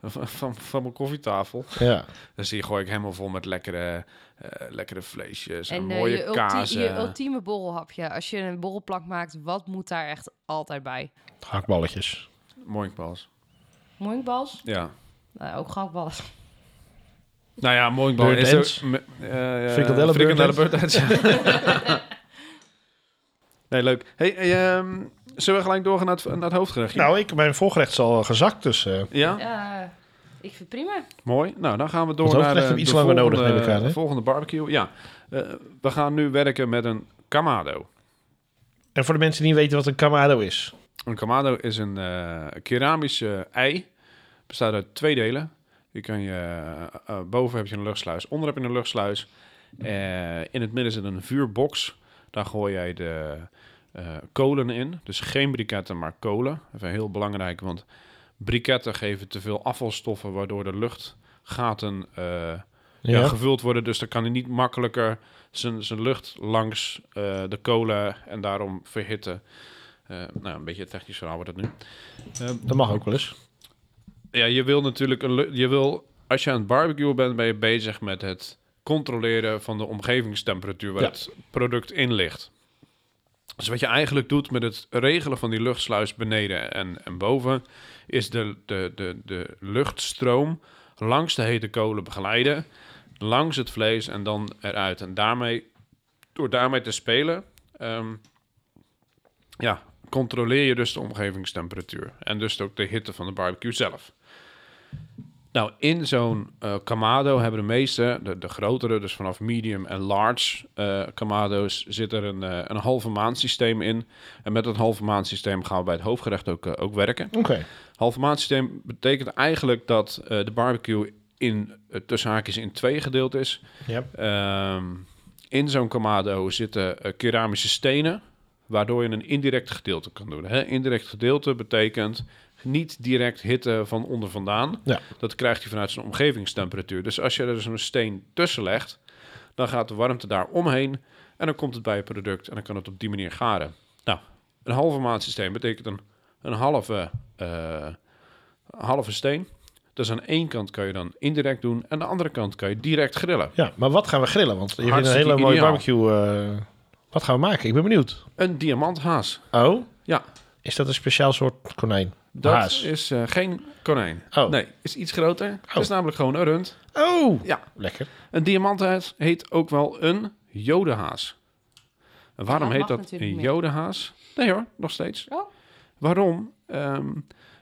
S3: eh, van, van, van mijn koffietafel.
S1: Ja.
S3: Dus die gooi ik helemaal vol met lekkere, eh, lekkere vleesjes en,
S2: En eh,
S3: mooie
S2: je, ulti-
S3: kazen.
S2: je ultieme borrelhapje. Als je een borrelplank maakt, wat moet daar echt altijd bij?
S1: Hakballetjes.
S3: Mooinkbals.
S2: Mooinkbals?
S3: Ja.
S2: Nou, ook gehaktballen.
S3: Nou ja, mooinkbal is
S1: Beurtens.
S3: ook... me- eh, eh,
S1: Frikandellen
S3: Beurtens, ja. (laughs) nee, leuk. Hey, eh, ehm, zullen we gelijk doorgaan naar het, naar het hoofdgerechtje?
S1: Nou, ik, mijn voorgerecht is al gezakt, dus... eh,
S3: Ja,
S2: Eh, ik vind het prima.
S3: mooi. Nou, dan gaan we door
S1: Het
S3: naar
S1: hoofdgerecht
S3: de,
S1: heeft iets
S3: de
S1: langer
S3: volgende,
S1: nodig, neem ik aan, hè?
S3: de volgende barbecue. Ja, Eh, we gaan nu werken met een kamado.
S1: En voor de mensen die niet weten wat een kamado is.
S3: Een kamado is een eh, keramische ei. Bestaat uit twee delen. Je kan je, eh, eh, boven heb je een luchtsluis, onder heb je een luchtsluis. Eh, in het midden zit een vuurbox. Daar gooi jij de eh, kolen in. Dus geen briketten, maar kolen. Even heel belangrijk, want briketten geven te veel afvalstoffen... waardoor de luchtgaten eh, ja. gevuld worden. Dus dan kan hij niet makkelijker zijn, zijn lucht langs eh, de kolen en daarom verhitten. Eh, nou, een beetje een technisch verhaal wordt het nu. Eh,
S1: Dat mag ook wel eens.
S3: ja, je wil natuurlijk een lu- je wil, als je aan het barbecuen bent, ben je bezig met het controleren van de omgevingstemperatuur waar
S1: Ja.
S3: het product in ligt. Dus wat je eigenlijk doet met het regelen van die luchtsluis beneden en, en boven, is de, de, de, de luchtstroom langs de hete kolen begeleiden, langs het vlees en dan eruit. En daarmee, door daarmee te spelen, ehm, ja, controleer je dus de omgevingstemperatuur en dus ook de hitte van de barbecue zelf. Nou, in zo'n eh, kamado hebben de meeste, de, de grotere, dus vanaf medium en large eh kamado's, zit er een, eh, een halve maand systeem in. En met dat halve maand systeem gaan we bij het hoofdgerecht ook, eh, ook werken.
S1: Oké.
S3: Halve maand systeem betekent eigenlijk dat eh, de barbecue in, eh, tussen haakjes in twee gedeeld is.
S1: Ja.
S3: Ehm, in zo'n kamado zitten eh, keramische stenen, waardoor je een indirect gedeelte kan doen. Hè? Indirect gedeelte betekent niet direct hitte van onder vandaan.
S1: Ja.
S3: Dat krijgt hij vanuit zijn omgevingstemperatuur. Dus als je er zo'n steen tussen legt, dan gaat de warmte daar omheen en dan komt het bij je product en dan kan het op die manier garen. Nou, een halve maat systeem betekent een, een halve, eh, halve steen. Dus aan één kant kan je dan indirect doen en aan de andere kant kan je direct grillen.
S1: ja, maar wat gaan we grillen? Want je hebt een
S3: Hartstikke
S1: hele mooie
S3: ideaal.
S1: barbecue. eh, wat gaan we maken? Ik ben benieuwd.
S3: Een diamanthaas.
S1: Oh?
S3: Ja.
S1: Is dat een speciaal soort konijn?
S3: Dat
S1: Haas.
S3: is eh, geen konijn.
S1: Oh.
S3: Nee, is iets groter. Het is namelijk gewoon een rund.
S1: Oh!
S3: Ja.
S1: Lekker.
S3: Een diamanthaas heet ook wel een jodenhaas. En waarom
S2: dat
S3: heet
S2: mag
S3: dat
S2: natuurlijk
S3: een
S2: niet meer.
S3: jodenhaas? Nee hoor, nog steeds.
S2: Oh.
S3: Waarom? Ehm,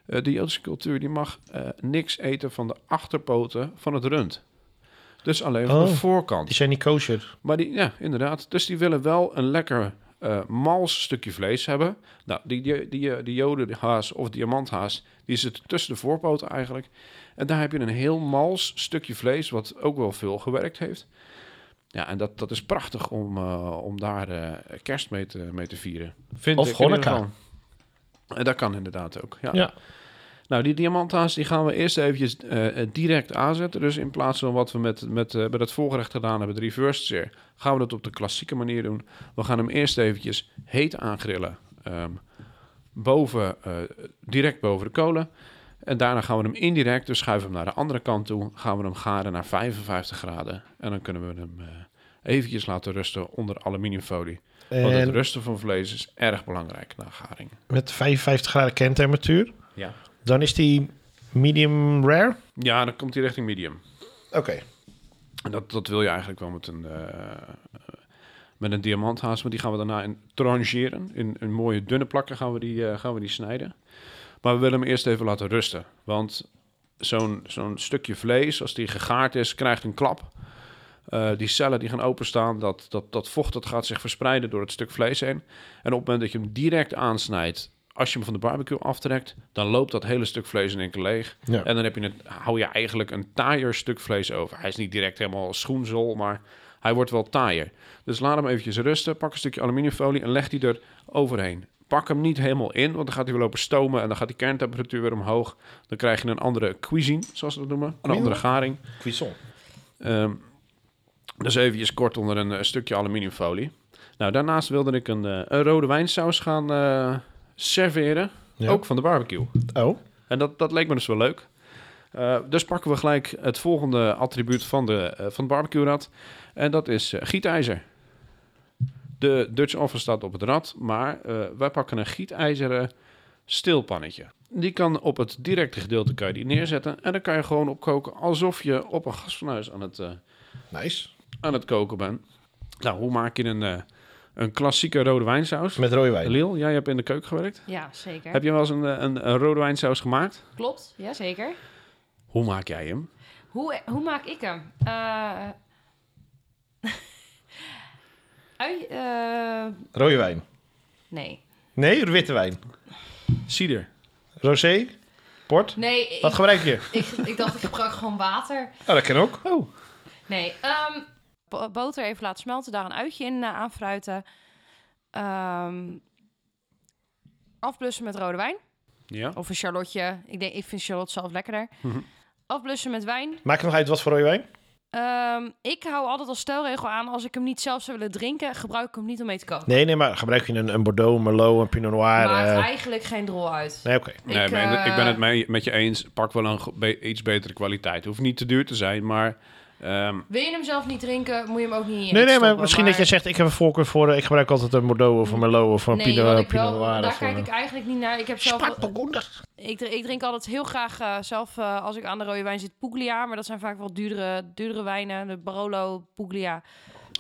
S3: eh, de Joodse cultuur die mag eh, niks eten van de achterpoten van het rund. Dus alleen van
S1: Oh.
S3: de voorkant.
S1: Die zijn niet kosher.
S3: Maar die, ja, inderdaad. Dus die willen wel een lekker eh mals stukje vlees hebben. Nou, die, die, die, eh, die jodenhaas of diamanthaas, die zit tussen de voorpoten eigenlijk. En daar heb je een heel mals stukje vlees, wat ook wel veel gewerkt heeft. Ja, en dat, dat is prachtig om, eh, om daar eh, kerst mee te, mee te vieren. Vind
S1: Of
S3: ik in ieder
S1: Hanukkah.
S3: geval. En dat kan inderdaad ook, ja.
S1: Ja.
S3: Nou, die diamanthaas die gaan we eerst eventjes eh, eh, direct aanzetten. Dus in plaats van wat we met, met, eh met het voorgerecht gedaan hebben, de reverse sear, gaan we dat op de klassieke manier doen. We gaan hem eerst eventjes heet aangrillen. ehm, boven, eh, direct boven de kolen. En daarna gaan we hem indirect, dus schuiven we hem naar de andere kant toe. Gaan we hem garen naar 55 graden. En dan kunnen we hem eh, eventjes laten rusten onder aluminiumfolie. Want het
S1: En
S3: rusten van vlees is erg belangrijk na garing.
S1: met 55 graden kerntemperatuur.
S3: Ja.
S1: Dan is die medium rare.
S3: Ja, dan komt hij richting medium.
S1: Oké.
S3: En dat, dat wil je eigenlijk wel met een, eh, met een diamanthaas. Maar die gaan we daarna in trancheren. In, in mooie dunne plakken gaan we, die, eh, gaan we die snijden. Maar we willen hem eerst even laten rusten. Want zo'n zo'n stukje vlees, als die gegaard is, krijgt een klap. Eh, die cellen die gaan openstaan, dat, dat, dat vocht dat gaat zich verspreiden door het stuk vlees heen. En op het moment dat je hem direct aansnijdt, als je hem van de barbecue aftrekt, dan loopt dat hele stuk vlees in één keer leeg.
S1: Ja.
S3: En dan heb je een, hou je eigenlijk een taaier stuk vlees over. Hij is niet direct helemaal schoenzol, maar hij wordt wel taaier. Dus laat hem eventjes rusten. Pak een stukje aluminiumfolie en leg die er overheen. Pak hem niet helemaal in, want dan gaat hij weer lopen stomen en dan gaat die kerntemperatuur weer omhoog. Dan krijg je een andere cuisine, zoals ze dat noemen. Een andere garing.
S1: Cuisson.
S3: Ehm, dus eventjes kort onder een eh, stukje aluminiumfolie. Nou, daarnaast wilde ik een, eh, een rode wijnsaus gaan eh, serveren.
S1: Ja.
S3: Ook van de barbecue.
S1: Oh.
S3: En dat, dat leek me dus wel leuk. Eh, dus pakken we gelijk het volgende attribuut van de, eh, van de barbecue-rad. En dat is eh, gietijzer. De Dutch Oven staat op het rad, maar eh, wij pakken een gietijzeren stilpannetje. Die kan op het directe gedeelte kan je die neerzetten. En dan kan je gewoon opkoken alsof je op een gasfornuis aan het... eh,
S1: Nice.
S3: aan het koken ben. Nou, hoe maak je een, eh, een klassieke rode wijnsaus?
S1: Met rode wijn.
S3: Lil, jij hebt in de keuken gewerkt.
S4: Ja, zeker.
S3: Heb je wel eens een, eh, een, een rode wijnsaus gemaakt?
S2: Klopt, ja zeker.
S3: Hoe maak jij hem?
S2: Hoe, hoe maak ik hem? Eh, (laughs) ui- eh,
S1: Rode wijn.
S2: nee.
S1: Nee, witte wijn.
S3: Cider.
S1: Rosé? Port?
S2: Nee, ik,
S1: Wat gebruik je?
S2: ik, ik dacht ik gebruik gewoon water.
S1: Oh, dat kan ook. Oh.
S2: Nee, ehm,
S4: Bo- boter even laten smelten, daar een uitje in eh, aanfruiten. Ehm, afblussen met rode wijn.
S3: Ja.
S4: Of een charlotje. Ik, denk, ik vind charlotte zelf lekkerder.
S3: Mhm.
S4: Afblussen met wijn.
S1: Maakt het nog uit wat voor rode wijn?
S4: Ehm, ik hou altijd als stelregel aan, als ik hem niet zelf zou willen drinken, gebruik ik hem niet om mee te koken.
S1: Nee, nee, maar gebruik je een, een Bordeaux, Merlot, een Pinot Noir?
S2: maakt
S1: eh,
S2: eigenlijk geen drol uit.
S1: Nee, oké.
S3: Nee, ik,
S2: Ik,
S3: ben, ik ben
S2: eh,
S3: het mee- met je eens. Pak wel een ge- be- iets betere kwaliteit. Hoeft niet te duur te zijn, maar ehm,
S2: Wil je hem zelf niet drinken, moet je hem ook niet in je
S1: Nee,
S2: eten
S1: nee, maar
S2: stoppen,
S1: misschien dat jij zegt, ik heb een voorkeur voor, eh, ik gebruik altijd een Bordeaux of een Merlot of een
S2: Nee, wat
S1: Pinot,
S2: ik wel-
S1: Pinot Noir.
S2: daar
S1: of eh, een-
S2: kijk ik eigenlijk niet naar. Ik heb zelf...
S1: Spaartbegonder.
S4: Ik, dr- ik drink altijd heel graag eh, zelf, eh, als ik aan de rode wijn zit, Puglia. Maar dat zijn vaak wel duurdere, duurdere wijnen. De Barolo, Puglia.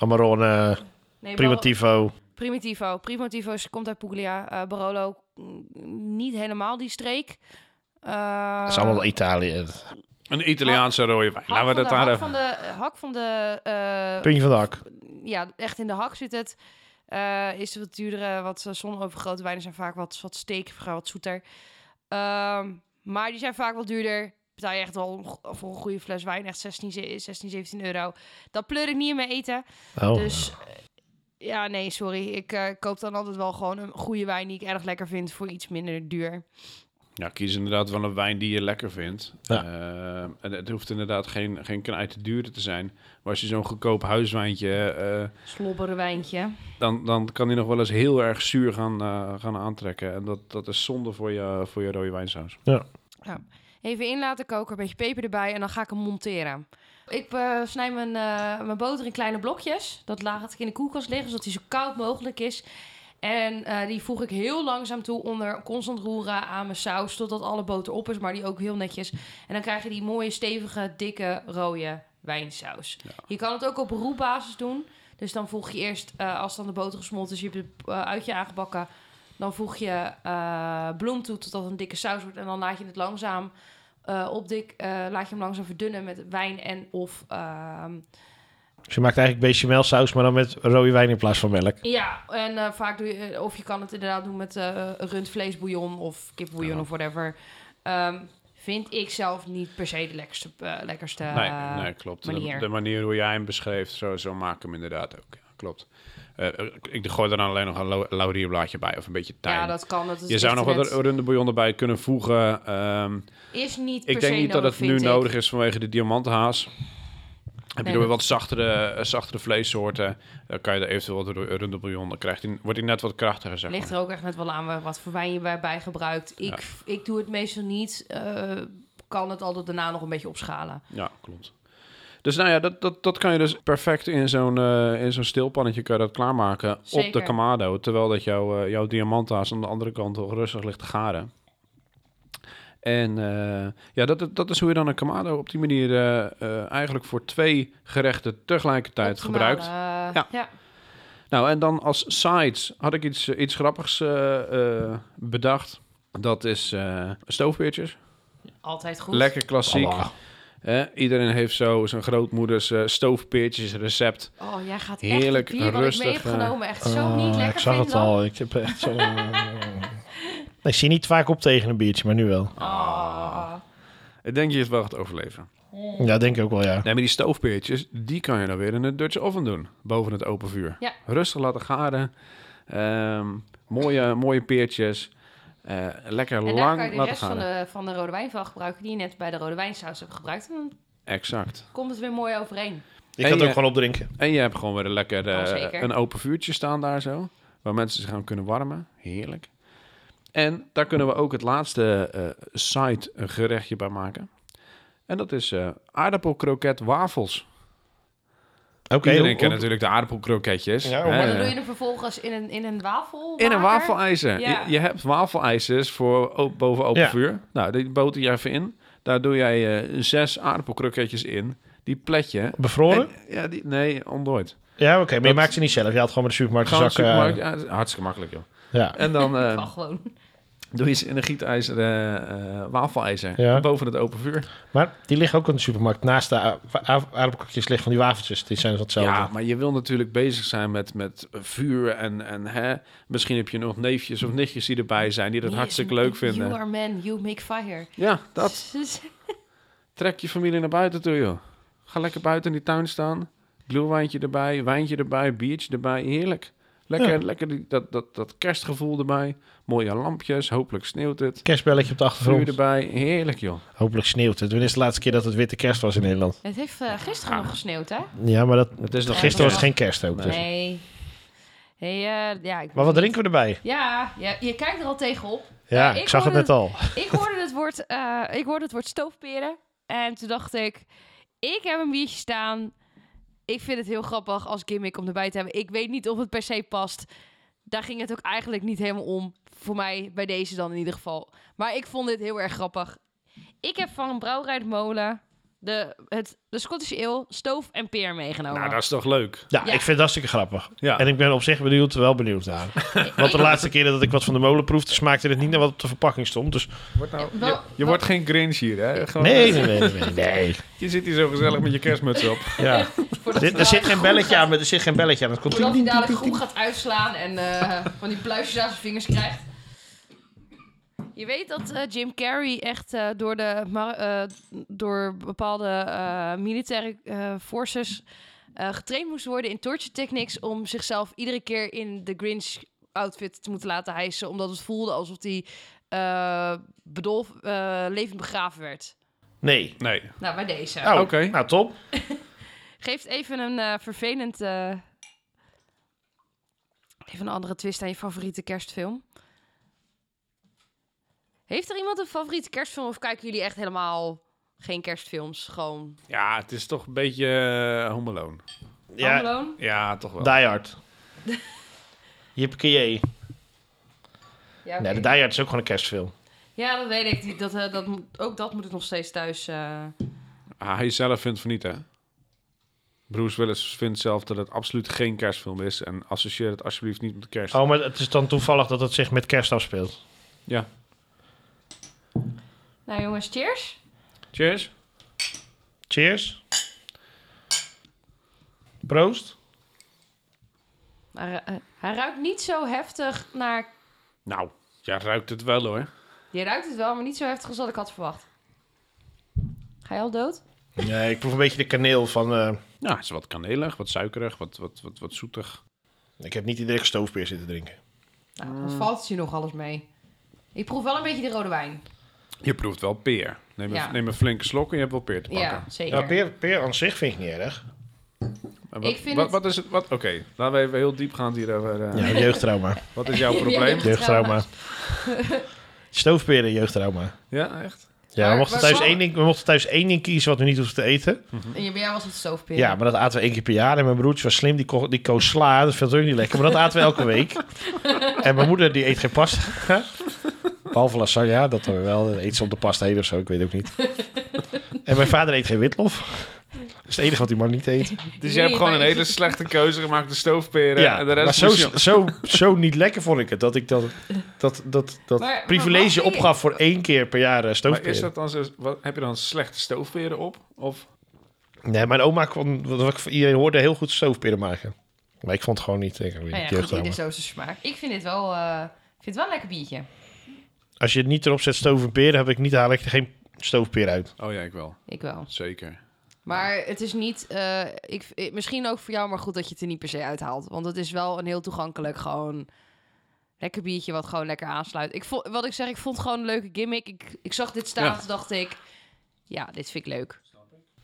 S1: Amarone,
S4: Nee, Barolo-
S1: Primitivo.
S4: Primitivo. Primitivo is- komt uit Puglia. Eh, Barolo, mm, niet helemaal die streek. Eh,
S1: Dat is allemaal Italië.
S3: een Italiaanse rode wijn.
S4: hak
S3: Laten we
S4: van
S3: dat
S4: de-
S3: daar
S4: hak
S3: even...
S4: van de Hak van de... eh,
S1: Puntje van de hak.
S4: ja, echt in de hak zit het. Eh, is het wat duurdere, wat eh, zonovergrote wijnen zijn vaak wat, wat stekiger, wat zoeter. Ehm, maar die zijn vaak wel duurder. Betaal je echt wel een go- voor een goede fles wijn, echt 16, ze- 16 17 euro. Dat pleur ik niet in mijn eten.
S1: Oh.
S4: Dus eh, ja, nee, sorry. Ik eh, koop dan altijd wel gewoon een goede wijn die ik erg lekker vind voor iets minder duur.
S3: Ja, kies inderdaad wel een wijn die je lekker vindt.
S1: Ja.
S3: Eh, en het hoeft inderdaad geen, geen knijt te dure te zijn. Maar als je zo'n goedkoop huiswijntje... eh,
S2: Slobberen wijntje.
S3: dan, dan kan hij nog wel eens heel erg zuur gaan, eh, gaan aantrekken. En dat, dat is zonde voor je, voor je rode wijnsaus.
S4: Even in laten koken, een beetje peper erbij en dan ga ik hem monteren.
S2: Ik eh, snij mijn, eh, mijn boter in kleine blokjes. Dat laat ik in de koelkast liggen, zodat die zo koud mogelijk is. En eh, die voeg ik heel langzaam toe onder constant roeren aan mijn saus. Totdat alle boter op is, maar die ook heel netjes. En dan krijg je die mooie, stevige, dikke, rode wijnsaus. Je kan het ook op roerbasis doen. Dus dan voeg je eerst, eh, als dan de boter gesmolten is, je hebt het eh, uitje aangebakken. Dan voeg je eh, bloem toe totdat het een dikke saus wordt. En dan laat je het langzaam eh opdik, eh, laat je hem langzaam verdunnen met wijn en of... ehm,
S1: Dus je maakt eigenlijk bechamel saus, maar dan met rode wijn in plaats van melk.
S2: ja, en eh, vaak doe je... eh, Of je kan het inderdaad doen met eh rundvleesbouillon of kipbouillon
S3: Ja.
S2: of whatever. Ehm, vind ik zelf niet per se de lekkerste... eh, lekkerste
S3: nee,
S2: eh,
S3: nee, klopt. De,
S2: manier.
S3: de manier hoe jij hem beschreef, zo, zo maak ik hem inderdaad ook. Ja, klopt. Eh, ik gooi er dan alleen nog een lau- laurierblaadje bij of een beetje tijm.
S2: Ja, dat kan. Dat is
S3: je zou nog wat
S2: echt net-
S3: runderbouillon erbij kunnen voegen. Ehm,
S2: Is niet per
S3: ik denk
S2: se
S3: niet dat
S2: nodig,
S3: het nu
S2: vind ik.
S3: nodig is vanwege de diamanthaas. Heb
S2: Nee,
S3: je er
S2: dat-
S3: wat zachtere, eh, zachtere vleessoorten, dan kan je er eventueel wat ru- runderbouillon. Dan krijgt hij, wordt hij net wat krachtiger, zeg maar.
S2: Ligt er ook echt net wel aan wat voor wijn je erbij gebruikt. Ik, ik doe het meestal niet. eh, kan het altijd daarna nog een beetje opschalen.
S3: Ja, klopt. Dus nou ja, dat, dat, dat kan je dus perfect in zo'n eh, in zo'n stilpannetje kan je dat klaarmaken op de
S2: Zeker.
S3: Kamado. Terwijl dat jouw eh, jouw diamanta's aan de andere kant al rustig ligt te garen. En eh, ja, dat, dat- dat is hoe je dan een Kamado op die manier eh, eh, eigenlijk voor twee gerechten tegelijkertijd
S2: Optimaal,
S3: gebruikt.
S2: eh,
S3: Ja. Nou, en dan als sides had ik iets, eh, iets grappigs eh, eh, bedacht. Dat is eh stoofpeertjes.
S2: altijd goed.
S3: Lekker klassiek.
S1: Allah.
S3: Hè, iedereen heeft zo zijn grootmoeders eh stoofpeertjes recept.
S2: Oh, jij gaat
S3: Heerlijk,
S2: echt het bier wat ik mee
S3: rustig,
S2: heb
S3: eh,
S2: genomen echt zo niet
S1: Ah,
S2: lekker
S1: ik zag het
S2: vinden.
S1: al. Ik heb echt zo... (laughs) Nee, Ik zie niet vaak op tegen een biertje, maar nu wel.
S2: Ah.
S3: Oh. Ik denk je het wel gaat overleven.
S1: Ja, denk ik ook wel, ja.
S3: Nee, maar die stoofpeertjes, die kan je dan weer in een Dutch oven doen. Boven het open vuur.
S2: Ja.
S3: Rustig laten garen. Ehm, mooie, mooie peertjes. Eh, lekker
S2: En daar
S3: lang
S2: kan je de
S3: laten
S2: rest van
S3: garen.
S2: de, van de rode wijn van gebruiken die je net bij de rode wijnsaus hebt gebruikt. En dan
S3: Exact.
S2: komt het weer mooi overeen.
S1: Ik
S3: Hey,
S1: kan het ook
S3: eh,
S1: gewoon opdrinken.
S3: En je hebt gewoon weer een lekker eh,
S2: Oh, zeker.
S3: een open vuurtje staan daar zo. Waar mensen zich aan kunnen warmen. Heerlijk. En daar kunnen we ook het laatste eh side gerechtje bij maken. En dat is eh aardappelkroket wafels.
S1: Oké,
S3: Iedereen
S1: hoe-
S3: kent
S1: hoe-
S3: natuurlijk de aardappelkroketjes.
S1: Ja,
S3: hè.
S4: En dan doe je er vervolgens in een, in een wafel.
S3: In een wafelijzer.
S4: Ja.
S3: Je, je hebt wafelijzers voor o- boven open
S1: Ja.
S3: vuur. Nou, die boter je even in. Daar doe jij eh, zes aardappelkroketjes in. Die plet je.
S1: Bevroren?
S3: En- ja, die, nee, ontdooid.
S1: ja, oké, maar je
S3: dat-
S1: maakt ze niet zelf. Je haalt gewoon met de supermarkt
S3: Gewoon
S1: zakken. eh,
S3: supermarkt. Ja, dat is hartstikke makkelijk, joh.
S1: ja.
S3: En dan eh,
S4: Mag gewoon.
S3: doe je ze in een gietijzeren eh wafelijzer
S1: Ja.
S3: boven het open vuur.
S1: Maar die liggen ook in de supermarkt. Naast de a- wa- a- aardappelkakjes liggen van die wafeltjes. Die zijn dus hetzelfde.
S3: Ja, maar je wil natuurlijk bezig zijn met, met vuur en, en hè, misschien heb je nog neefjes of nichtjes die erbij zijn die dat
S4: Yes,
S3: hartstikke leuk
S4: You
S3: vinden.
S4: are man, you make fire.
S3: Ja, dat.
S2: (laughs)
S3: Trek je familie naar buiten toe, joh. Ga lekker buiten in die tuin staan. Glühwijntje erbij, wijntje erbij, biertje erbij. Heerlijk. Lekker,
S1: Ja.
S3: lekker die, dat, dat, dat kerstgevoel erbij. Mooie lampjes, hopelijk sneeuwt het.
S1: Kerstbelletje op de
S3: Vuur
S1: achtergrond.
S3: erbij, heerlijk joh.
S1: Hopelijk sneeuwt het. Wanneer is de laatste keer dat het witte kerst was in Nederland?
S4: Het heeft eh, gisteren
S3: Ah.
S4: nog gesneeuwd, hè?
S1: Ja, maar dat,
S3: Het is nog
S1: gisteren was het
S3: kerst.
S1: geen kerst ook. dus.
S4: Nee. Hey, eh, ja, ik
S1: Maar wat drinken we erbij?
S4: Ja, ja, je kijkt er al tegenop.
S1: Ja,
S4: ik
S1: ik, zag het
S4: hoorde-
S1: net al.
S4: Ik hoorde het woord, eh, ik hoorde het woord stoofperen. En toen dacht ik, ik heb een biertje staan. Ik vind het heel grappig als gimmick om erbij te hebben. Ik weet niet of het per se past. Daar ging het ook eigenlijk niet helemaal om. Voor mij, bij deze dan in ieder geval. Maar ik vond dit heel erg grappig. Ik heb van een brouwerij de molen de, het, de Scottish Ale, stoof en peer meegenomen.
S3: Nou, dat is toch leuk.
S1: Ja,
S4: Ja.
S1: ik vind het hartstikke grappig.
S3: Ja.
S1: En ik ben op zich benieuwd, wel benieuwd (laughs) naar. Want de laatste keer dat ik wat van de molen proefde, smaakte het niet naar wat op de verpakking stond. Dus
S3: Wordt nou-
S4: Wel-
S3: je, je wordt geen Grinch hier, hè? Gewoon- eh,
S1: nee, nee, nee, nee. nee.
S3: Je zit hier zo gezellig met je kerstmuts op.
S1: Ja.
S4: Voordat
S1: Dit, (laughs)
S4: we
S1: er
S4: dadelijk
S1: zit geen
S4: groen
S1: belletje
S4: gaan-
S1: aan, maar er zit geen belletje aan. Het komt
S4: Voordat hij dadelijk groen gaat uitslaan en eh, (laughs) van die pluisjes aan zijn vingers krijgt. Je weet dat eh, Jim Carrey echt eh, door, de, ma- eh, door bepaalde eh, militaire eh, forces eh, getraind moest worden in torture techniques om zichzelf iedere keer in de Grinch outfit te moeten laten hijsen, omdat het voelde alsof hij eh bedolf, eh, levend begraven werd.
S1: Nee.
S3: Nee.
S4: Nou, bij deze.
S1: Oh,
S3: Oké.
S1: Nou, top.
S4: Geeft even een eh, vervelend. eh, even een andere twist aan je favoriete kerstfilm. Heeft er iemand een favoriete kerstfilm of kijken jullie echt helemaal geen kerstfilms? Gewoon.
S3: Ja, het is toch een beetje eh, Home Alone.
S1: Ja,
S4: Home Alone?
S3: Ja, toch wel.
S1: Die (laughs) Hard. Jippie Nee,
S4: Ja,
S1: de
S4: oké.
S1: Die Hard is ook gewoon een kerstfilm.
S4: ja, dat weet ik. Die- Dat, eh, dat, moet- ook dat moet ik nog steeds thuis. eh,
S3: Ah, hij zelf vindt van niet, hè? Bruce Willis vindt zelf dat het absoluut geen kerstfilm is. En associeer het alsjeblieft niet met kerst.
S1: Oh, maar het is dan toevallig dat het zich met kerst afspeelt.
S3: Ja.
S4: Nou jongens, cheers.
S3: Cheers.
S1: Cheers. Proost.
S4: Maar, eh, hij ruikt niet zo heftig naar.
S3: Nou, ja, ruikt het wel hoor.
S4: Je ruikt het wel, maar niet zo heftig als dat ik had verwacht. Ga je al dood?
S1: Nee, ik proef een beetje de kaneel van... eh,
S3: Ja, het is wat kanelig, wat suikerig, wat, wat, wat, wat zoetig.
S1: ik heb niet iedereen stoofpeer zitten drinken.
S4: Nou, wat valt het je nog alles mee? Ik proef wel een beetje die rode wijn.
S3: Je proeft wel peer. Neem een,
S4: Ja.
S3: neem een flinke slok en je hebt wel peer te pakken.
S4: Ja, zeker.
S1: Ja, peer, peer aan zich vind ik niet erg.
S3: En wat,
S4: Ik vind
S3: wat,
S4: het-
S3: wat is het? wat- Oké, laten we even heel diep gaan hierover. eh,
S1: Ja, jeugdtrauma.
S3: Wat is jouw
S4: (laughs)
S3: probleem?
S4: Ja.
S1: (laughs) jeugdtrauma. Stoofperen, jeugdtrauma.
S3: Ja, echt?
S1: Ja, we
S4: Maar-
S1: mochten,
S4: maar
S1: thuis
S4: zal-
S1: één ding, we mochten thuis één ding kiezen wat we niet hoefden te eten.
S4: En je bij jou was het stoofperen.
S1: Ja, maar dat aten we één keer per jaar. En mijn broertje was slim, die, ko die koos sla. Dat vind ik ook niet lekker, maar dat aten we elke (laughs) week. En mijn moeder, die eet geen pasta. (laughs) Behalve lasagne, dat dan wel. Dan eet ze op de pasta heen of zo, ik weet ook (laughs) niet. En mijn vader eet geen witlof. Dat is het enige wat die man niet eet.
S3: Dus
S4: Nee,
S3: je hebt gewoon
S4: maar
S3: een
S4: ik-
S3: hele slechte keuze gemaakt, de stoofperen.
S1: Ja,
S3: en de
S1: maar
S3: rest
S1: zo,
S3: is je-
S1: zo, zo niet lekker vond ik het. Dat ik dat, dat, dat, dat
S4: Maar- maar wat
S1: privilege
S4: vind je-
S1: opgaf voor één keer per jaar eh,
S3: Maar is
S1: stoofperen.
S3: dat dan zo, wat, heb je dan slechte stoofperen op? Of
S1: Nee, mijn oma kwam... wat- wat ik- Iedereen hoorde heel goed stoofperen maken. Maar ik vond het gewoon niet... eh, Ik, weet niet,
S4: Nou ja, goed,
S1: jeugdtrauma.
S4: ieder zo zijn smaak. Ik vind dit wel, eh, ik vind het wel een lekker biertje.
S1: Als je het niet erop zet stoof en peren, heb ik niet, haal ik er geen stoofpeer uit.
S3: Oh ja, ik wel.
S4: Ik wel.
S3: Zeker.
S4: Maar het is niet, eh, ik, ik- misschien ook voor jou, maar goed dat je het er niet per se uithaalt. Want het is wel een heel toegankelijk, gewoon lekker biertje wat gewoon lekker aansluit. Ik vond, wat ik zeg, ik vond het gewoon een leuke gimmick. Ik, ik zag dit staan,
S3: Ja.
S4: toen dacht ik, ja, dit vind ik leuk.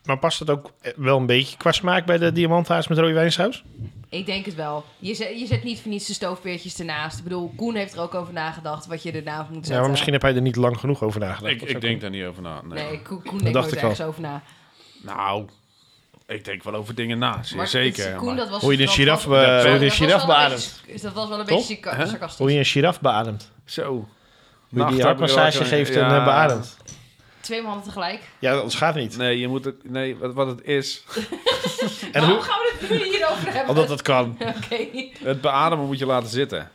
S1: Maar past dat ook eh, wel een beetje qua smaak bij de diamanthaas met rode wijnsaus?
S2: Ik denk het wel. Je zet, je zet niet voor niets de stoofpeertjes ernaast. Ik bedoel, Koen heeft er ook over nagedacht wat je ernaast moet zetten.
S1: Ja, maar misschien heb hij er niet lang genoeg over nagedacht.
S3: Ik,
S1: Dat zou
S3: ik denk
S1: kunnen.
S3: daar niet over na. Nee.
S2: Nee, Koen, Koen denkt
S1: dacht
S2: nooit
S1: ik al.
S2: ergens over na.
S3: Nou, ik denk wel over dingen na. zeer
S2: Maar
S3: zeker.
S2: het- Koen,
S3: maar-
S2: dat was,
S1: Hoe je de
S2: dat
S1: giraf,
S2: was-
S1: eh,
S2: dat
S1: hoe je
S2: was
S1: de
S2: wel
S1: giraf
S2: een beetje-
S1: beademt.
S2: Dat was wel een
S1: Toch?
S2: beetje sarca-
S3: Hè?
S2: sarcastisch.
S1: Hoe je een giraf beademt.
S3: Zo.
S1: Hoe je die hartmassage geeft en eh, beademt.
S2: Twee handen tegelijk.
S1: Ja, dat gaat niet.
S3: Nee, je moet het, nee wat, wat het is.
S1: En
S2: Waarom
S1: hoe?
S2: gaan we het nu
S1: (laughs)
S2: hierover hebben?
S1: Omdat dat kan.
S2: Oké,
S3: Het beademen moet je laten zitten.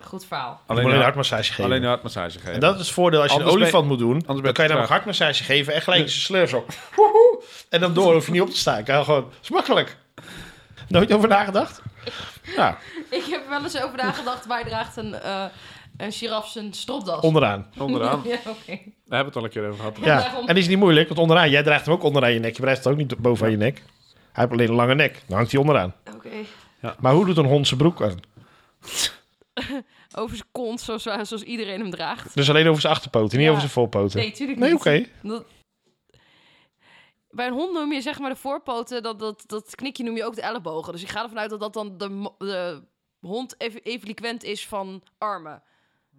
S2: goed verhaal.
S1: Alleen, alleen een hartmassage geven.
S3: nou- alleen een hartmassage geven.
S1: en dat is het voordeel als je
S3: Anders
S1: een
S3: ben-
S1: olifant moet doen.
S3: ben
S1: Dan
S3: je
S1: kan je
S3: te traag.
S1: namelijk hartmassage geven en gelijk zijn slurf zo. Woehoe. En dan door, hoef je niet op te staan. Kan gewoon, dat is makkelijk. Nooit over nagedacht? Nou,
S2: Ik heb er wel eens over nagedacht, waar draagt een, eh, een giraf zijn stropdas?
S1: onderaan.
S3: Onderaan.
S2: Ja, oké.
S3: Daar hebben we het al een keer over gehad.
S1: Ja, en is niet moeilijk, want onderaan. Jij draagt hem ook onderaan je nek. Je draagt het ook niet bovenaan je nek. Hij heeft alleen een lange nek. Dan hangt hij onderaan.
S2: Oké.
S1: Maar hoe doet een hond zijn broek aan?
S4: Over zijn kont, zoals, zoals iedereen hem draagt.
S1: Dus alleen over zijn achterpoten, niet
S2: Ja.
S1: over zijn voorpoten.
S2: Nee, tuurlijk
S1: Nee,
S2: niet.
S1: oké.
S4: Dat- Bij een hond noem je zeg maar de voorpoten, dat, dat, dat knikje noem je ook de ellebogen. Dus ik ga ervan uit dat dat dan de, mo- de hond ev- equivalent is van armen.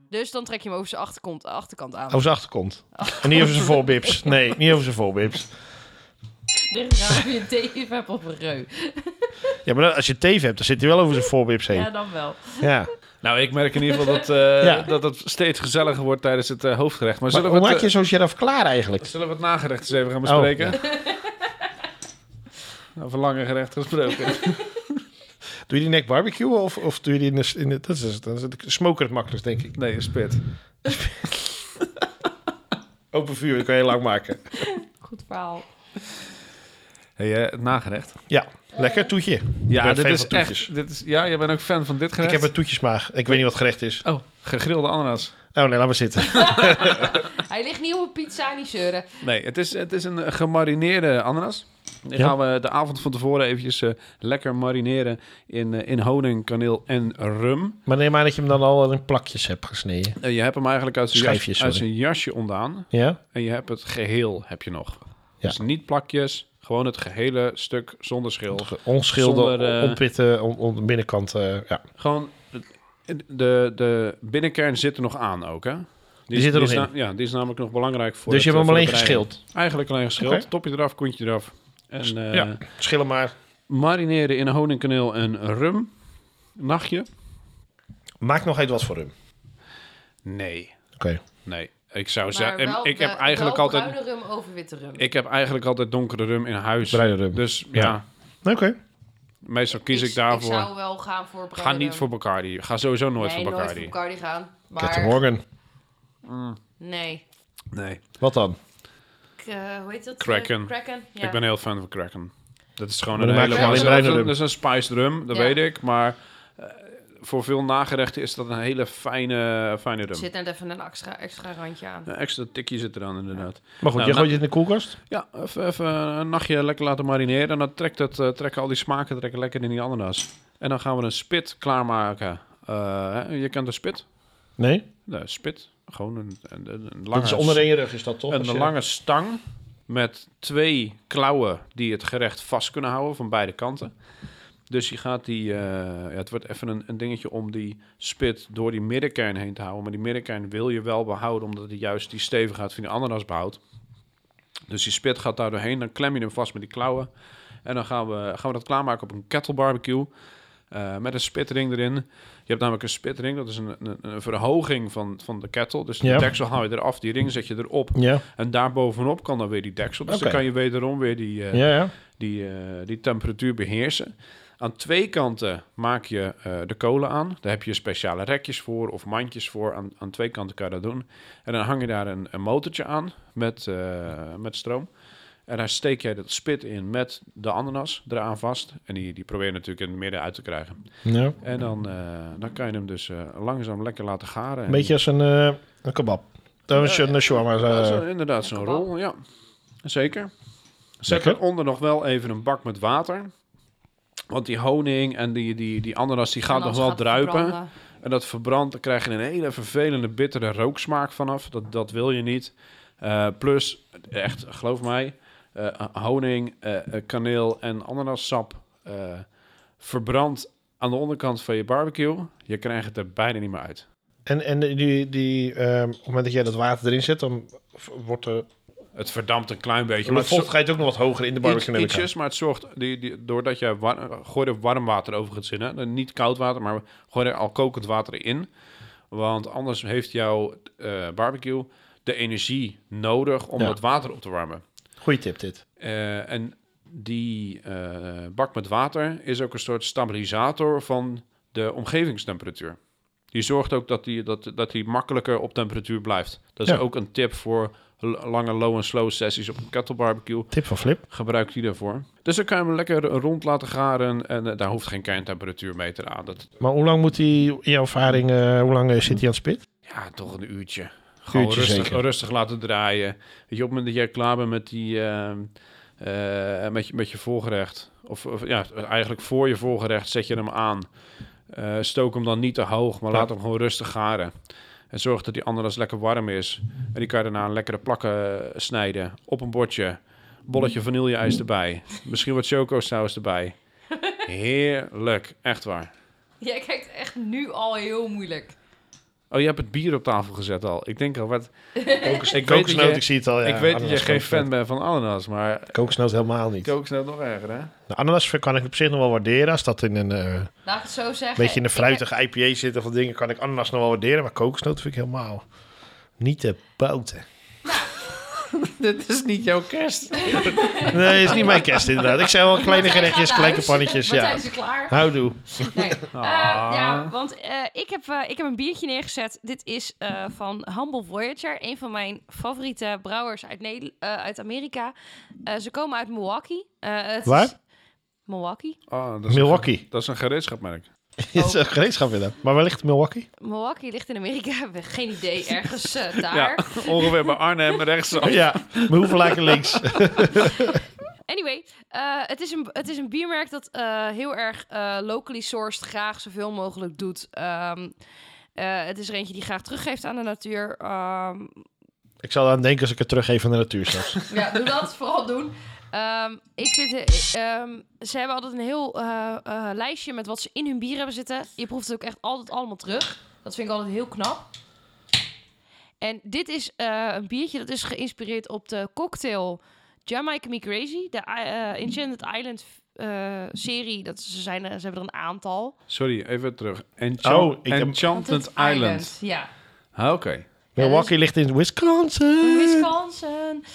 S4: Dus dan trek je hem over zijn achterkant, achterkant
S3: Oh.
S4: aan.
S1: Over zijn achterkont. En niet over zijn voorbips. Nee, niet over zijn voorbips.
S2: Dit is nou weer een TF heb op een reu.
S1: Ja, maar dan- als je teef hebt, dan zit hij wel over zijn voorbips heen.
S2: Ja,
S1: Ja.
S2: dan wel.
S3: Nou, ik merk in ieder geval dat, eh,
S1: (laughs) Ja.
S3: dat het steeds gezelliger wordt tijdens het eh, hoofdgerecht. Maar,
S1: Maar
S3: zullen,
S1: hoe
S3: we
S1: maak
S3: het,
S1: je zo'n sheriff klaar
S3: eh,
S1: eigenlijk?
S3: zullen we het nagerecht eens even gaan
S1: Oh,
S3: bespreken? (laughs) Over lange gerecht gesproken. (laughs)
S1: Doe je die nek barbecue of, of doe je die in de... In de dat is, dat is het smoker het makkelijkst, denk ik.
S3: Nee, een spit.
S1: Open vuur, dat kan je heel lang maken.
S2: Goed verhaal.
S3: Hey, eh, het nagerecht.
S1: Ja, lekker toetje.
S3: Ja,
S1: bent
S3: dit
S1: fan
S3: is
S1: van toetjes.
S3: echt. Dit is, ja, jij bent ook fan van dit
S1: Ik
S3: gerecht.
S1: heb een toetjesmaag. Ik weet niet wat gerecht is.
S3: Oh, gegrilde ananas.
S1: Oh nee, laat maar zitten. (laughs)
S2: Hij ligt niet op een pizza, niet zeuren.
S3: Nee, het is, het is een eh, gemarineerde ananas. Die
S1: Ja.
S3: gaan we de avond van tevoren eventjes eh, lekker marineren in, eh, in honing, kaneel en rum.
S1: Maar neem aan dat je hem dan al in plakjes hebt gesneden.
S3: Eh, je hebt hem eigenlijk uit zijn,
S1: Schijfjes,
S3: jas, uit
S1: sorry.
S3: zijn jasje ondaan.
S1: Ja?
S3: En je hebt het geheel heb je nog.
S1: Ja.
S3: Dus niet plakjes, gewoon het gehele stuk zonder schil.
S1: Onschilder,
S3: Zonder, eh,
S1: ontpitten, on, on- binnenkant. eh, ja.
S3: Gewoon, de, de binnenkern zit er nog aan ook, hè? Die, is-
S1: zit er
S3: is
S1: nog
S3: na- ja, die is namelijk nog belangrijk voor
S1: Dus je
S3: het,
S1: hebt hem
S3: eh,
S1: alleen
S3: voor de bereiding.
S1: geschild.
S3: Eigenlijk alleen geschild.
S1: Oké.
S3: Topje eraf, koentje eraf. En eh,
S1: ja, schillen maar.
S3: marineren in honing, kaneel en rum. Nachtje?
S1: Maak nog even wat voor hem.
S3: Nee,
S1: Oké.
S3: nee. Ik zou
S2: Maar
S3: zeggen,
S2: wel
S3: ik
S2: de-
S3: heb eigenlijk
S2: wel
S3: altijd...
S2: bruine rum over witte rum.
S3: Ik heb eigenlijk altijd donkere rum in huis.
S1: Bruine rum.
S3: Dus
S1: Ja.
S3: ja,
S1: Oké.
S3: Meestal kies ik
S2: Ik
S3: daarvoor.
S2: zou wel gaan voor bruine
S3: Ga niet
S2: rum.
S3: voor Bacardi. Ga sowieso nooit
S2: nee,
S3: voor
S2: nooit
S3: Bacardi.
S2: voor Bacardi gaan.
S1: Captain
S2: Maar
S1: Morgan.
S2: nee.
S3: nee.
S1: Wat dan?
S2: Ik, eh, hoe heet dat?
S3: Kraken.
S2: Eh, Kraken. Ja.
S3: Ik ben heel fan van Kraken. Dat is gewoon
S1: Maar
S3: een
S1: dan maak
S3: hele...
S1: je
S3: Dat
S1: alleen
S3: is,
S1: bruine
S3: een-
S1: rum.
S3: dat is een spice rum, dat
S2: Ja.
S3: weet ik. Maar eh, voor veel nagerechten is dat een hele fijne, fijne
S2: Er
S3: rum.
S2: zit net even een extra, extra randje aan.
S3: Een extra tikje zit eraan inderdaad.
S1: Maar goed,
S3: Nou,
S1: je
S3: nou-
S1: gooit het in de koelkast?
S3: Ja, even, even een nachtje lekker laten marineren. En dan trekt het, eh, trekken al die smaken trekken lekker in die ananas. En dan gaan we een spit klaarmaken. Eh, hè, je kent een spit?
S1: Nee.
S3: Nee, spit. Gewoon een, een, een lange...
S1: Dat is onderin je rug, is dat toch?
S3: Een
S1: Als je-
S3: lange stang met twee klauwen die het gerecht vast kunnen houden van beide kanten. Dus je gaat die, eh, ja, het wordt even een, een dingetje om die spit door die middenkern heen te houden. Maar die middenkern wil je wel behouden, omdat het juist die stevigheid van die ananas behoudt. Dus die spit gaat daar doorheen, dan klem je hem vast met die klauwen. En dan gaan we, gaan we dat klaarmaken op een kettle barbecue. eh, met een spitring erin. Je hebt namelijk een spitring, dat is een, een, een verhoging van, van de kettle. Dus de
S1: Ja.
S3: deksel haal je eraf, die ring zet je erop.
S1: Ja.
S3: En daarbovenop kan dan weer die deksel. Dus dan
S1: Oké.
S3: kan je wederom weer die, eh,
S1: Ja, ja.
S3: die, eh, die temperatuur beheersen. Aan twee kanten maak je eh, de kolen aan. Daar heb je speciale rekjes voor of mandjes voor. Aan, aan twee kanten kan je dat doen. En dan hang je daar een, een motortje aan met, eh, met stroom. En daar steek jij dat spit in met de ananas eraan vast. En die, die probeer je natuurlijk in het midden uit te krijgen.
S1: ja.
S3: En dan, eh, dan kan je hem dus eh, langzaam lekker laten garen.
S1: Een beetje als een, eh, een kebab. Dan is je een shawarma. eh,
S3: Ja, zo- inderdaad, zo'n
S2: kebab.
S3: rol, ja. Zeker. Zet
S1: Lekker.
S3: eronder nog wel even een bak met water. Want die honing en die, die, die ananas, die gaat nog
S2: Anders
S3: wel
S2: het
S3: druipen.
S4: (laughs)
S2: verbranden.
S3: En dat verbrandt, dan krijg je een hele vervelende, bittere rooksmaak vanaf. Dat, dat wil je niet. Eh, plus, echt, geloof mij, eh, honing, eh, eh, kaneel en ananassap eh, verbrand aan de onderkant van je barbecue. Je krijgt het er bijna niet meer uit.
S1: En, en die, die, ehm, op het moment dat jij dat water erin zet, dan v- wordt de,
S3: Het verdampt een klein beetje.
S1: de
S3: Maar het
S1: vochtigheid ook nog wat hoger in de
S3: zorgt
S1: barbecue.
S3: iets,
S1: neem ik aan.
S3: ietsjes, maar het zorgt, die, die, doordat je war, gooi er warm water over gaat zinnen. Dan Niet koud water, maar gooi er al kokend water in. Want anders heeft jouw eh, barbecue de energie nodig om
S1: Ja.
S3: dat water op te warmen.
S1: Goeie tip dit.
S3: Eh, en die eh, bak met water is ook een soort stabilisator van de omgevingstemperatuur. Die zorgt ook dat die, dat, dat die makkelijker op temperatuur blijft. Dat is
S1: Ja.
S3: ook een tip voor l- lange low en slow sessies op een kettle barbecue.
S1: Tip van Flip.
S3: Gebruik die daarvoor. Dus dan kan je hem lekker rond laten garen en eh, daar hoeft geen kerntemperatuurmeter aan. Dat,
S1: Maar hoe lang moet die, in jouw ervaring, eh, hoe lang eh, zit hij aan het spit?
S3: ja, toch een uurtje. Gewoon
S1: Uurtje
S3: rustig,
S1: zeker.
S3: rustig laten draaien. Weet je, op het moment dat jij klaar bent met, die, ehm, eh, met, je, met je voorgerecht, of, of ja, eigenlijk voor je voorgerecht zet je hem aan. Eh, stook hem dan niet te hoog, maar
S1: Ja.
S3: laat hem gewoon rustig garen. En zorg dat die ananas lekker warm is. En die kan je daarna een lekkere plakken eh, snijden op een bordje. Bolletje vanilleijs erbij. Misschien wat
S1: (laughs)
S3: chocosaus erbij. Heerlijk, echt waar.
S2: Jij kijkt echt nu al heel moeilijk.
S3: Oh, je hebt het bier op tafel gezet al. Ik denk al, wat,
S1: Ik
S3: weet dat je-
S1: ik zie het al. Ja,
S3: ik weet dat
S1: ananas
S3: je geen
S1: kokosnoot.
S3: fan bent van ananas, maar
S1: Kokosnoot helemaal niet.
S3: kokosnoot nog erger, hè?
S1: Nou, ananas kan ik op zich nog wel waarderen. Als dat in een eh,
S2: Laat ik het zo zeggen.
S1: beetje in een
S2: Ik
S1: fruitige IPA zit of wat dingen, kan ik ananas nog wel waarderen. Maar kokosnoot vind ik helemaal niet te bouten.
S3: (laughs) Dit is niet jouw kerst.
S1: Nee, is niet mijn kerst inderdaad. Ik zei wel
S2: heb-
S1: kleine
S2: Martijn
S1: gerechtjes,
S2: gaat
S1: kleine
S2: naar
S1: pannetjes.
S2: huis. Martijn
S1: Ja.
S2: is er
S1: (laughs)
S2: klaar.
S1: Houdoe.
S2: Nee. Eh, ja,
S3: Ah.
S4: Want eh, ik, heb, eh, ik heb een biertje neergezet. Dit is eh, van Humble Voyager. Een van mijn favoriete brouwers uit, Nederland, uit Amerika. Eh, ze komen uit Milwaukee. Eh, het is-
S1: Waar?
S4: Milwaukee.
S3: Oh, dat is
S1: Milwaukee.
S3: Een, dat is een gereedschapmerk.
S1: Het is een gereedschap in dat. Maar wellicht Milwaukee.
S4: Milwaukee ligt in Amerika. (laughs) Ik heb Geen idee. Ergens eh, daar.
S3: Ja, (laughs) ongeveer bij Arnhem rechtsaf.
S1: Ja, maar hoeveel laken links?
S4: Anyway, eh, het, is een, het is een biermerk dat eh, heel erg eh, locally sourced graag zoveel mogelijk doet. Ehm, eh, het is er eentje die graag teruggeeft aan de natuur. Ehm,
S1: Ik zal aan denken als ik het teruggeef aan de natuur zelfs.
S2: Ja, doe dat. Vooral doen.
S4: Ehm, ik vind, eh, ehm, ze hebben altijd een heel eh, eh, lijstje met wat ze in hun bier hebben zitten. Je proeft het ook echt altijd allemaal terug.
S2: Dat vind ik altijd heel knap.
S4: En dit is eh, een biertje dat is geïnspireerd op de cocktail Jamaica Me Crazy. De eh Enchanted Island eh, serie. Dat ze, zijn, er- ze hebben er een aantal.
S3: Sorry, even terug.
S1: Oh,
S3: Enchant
S1: ik heb-
S3: Enchantment Island.
S2: Ja.
S3: Ah, Oké.
S1: Milwaukee ligt in Wisconsin.
S4: Wisconsin.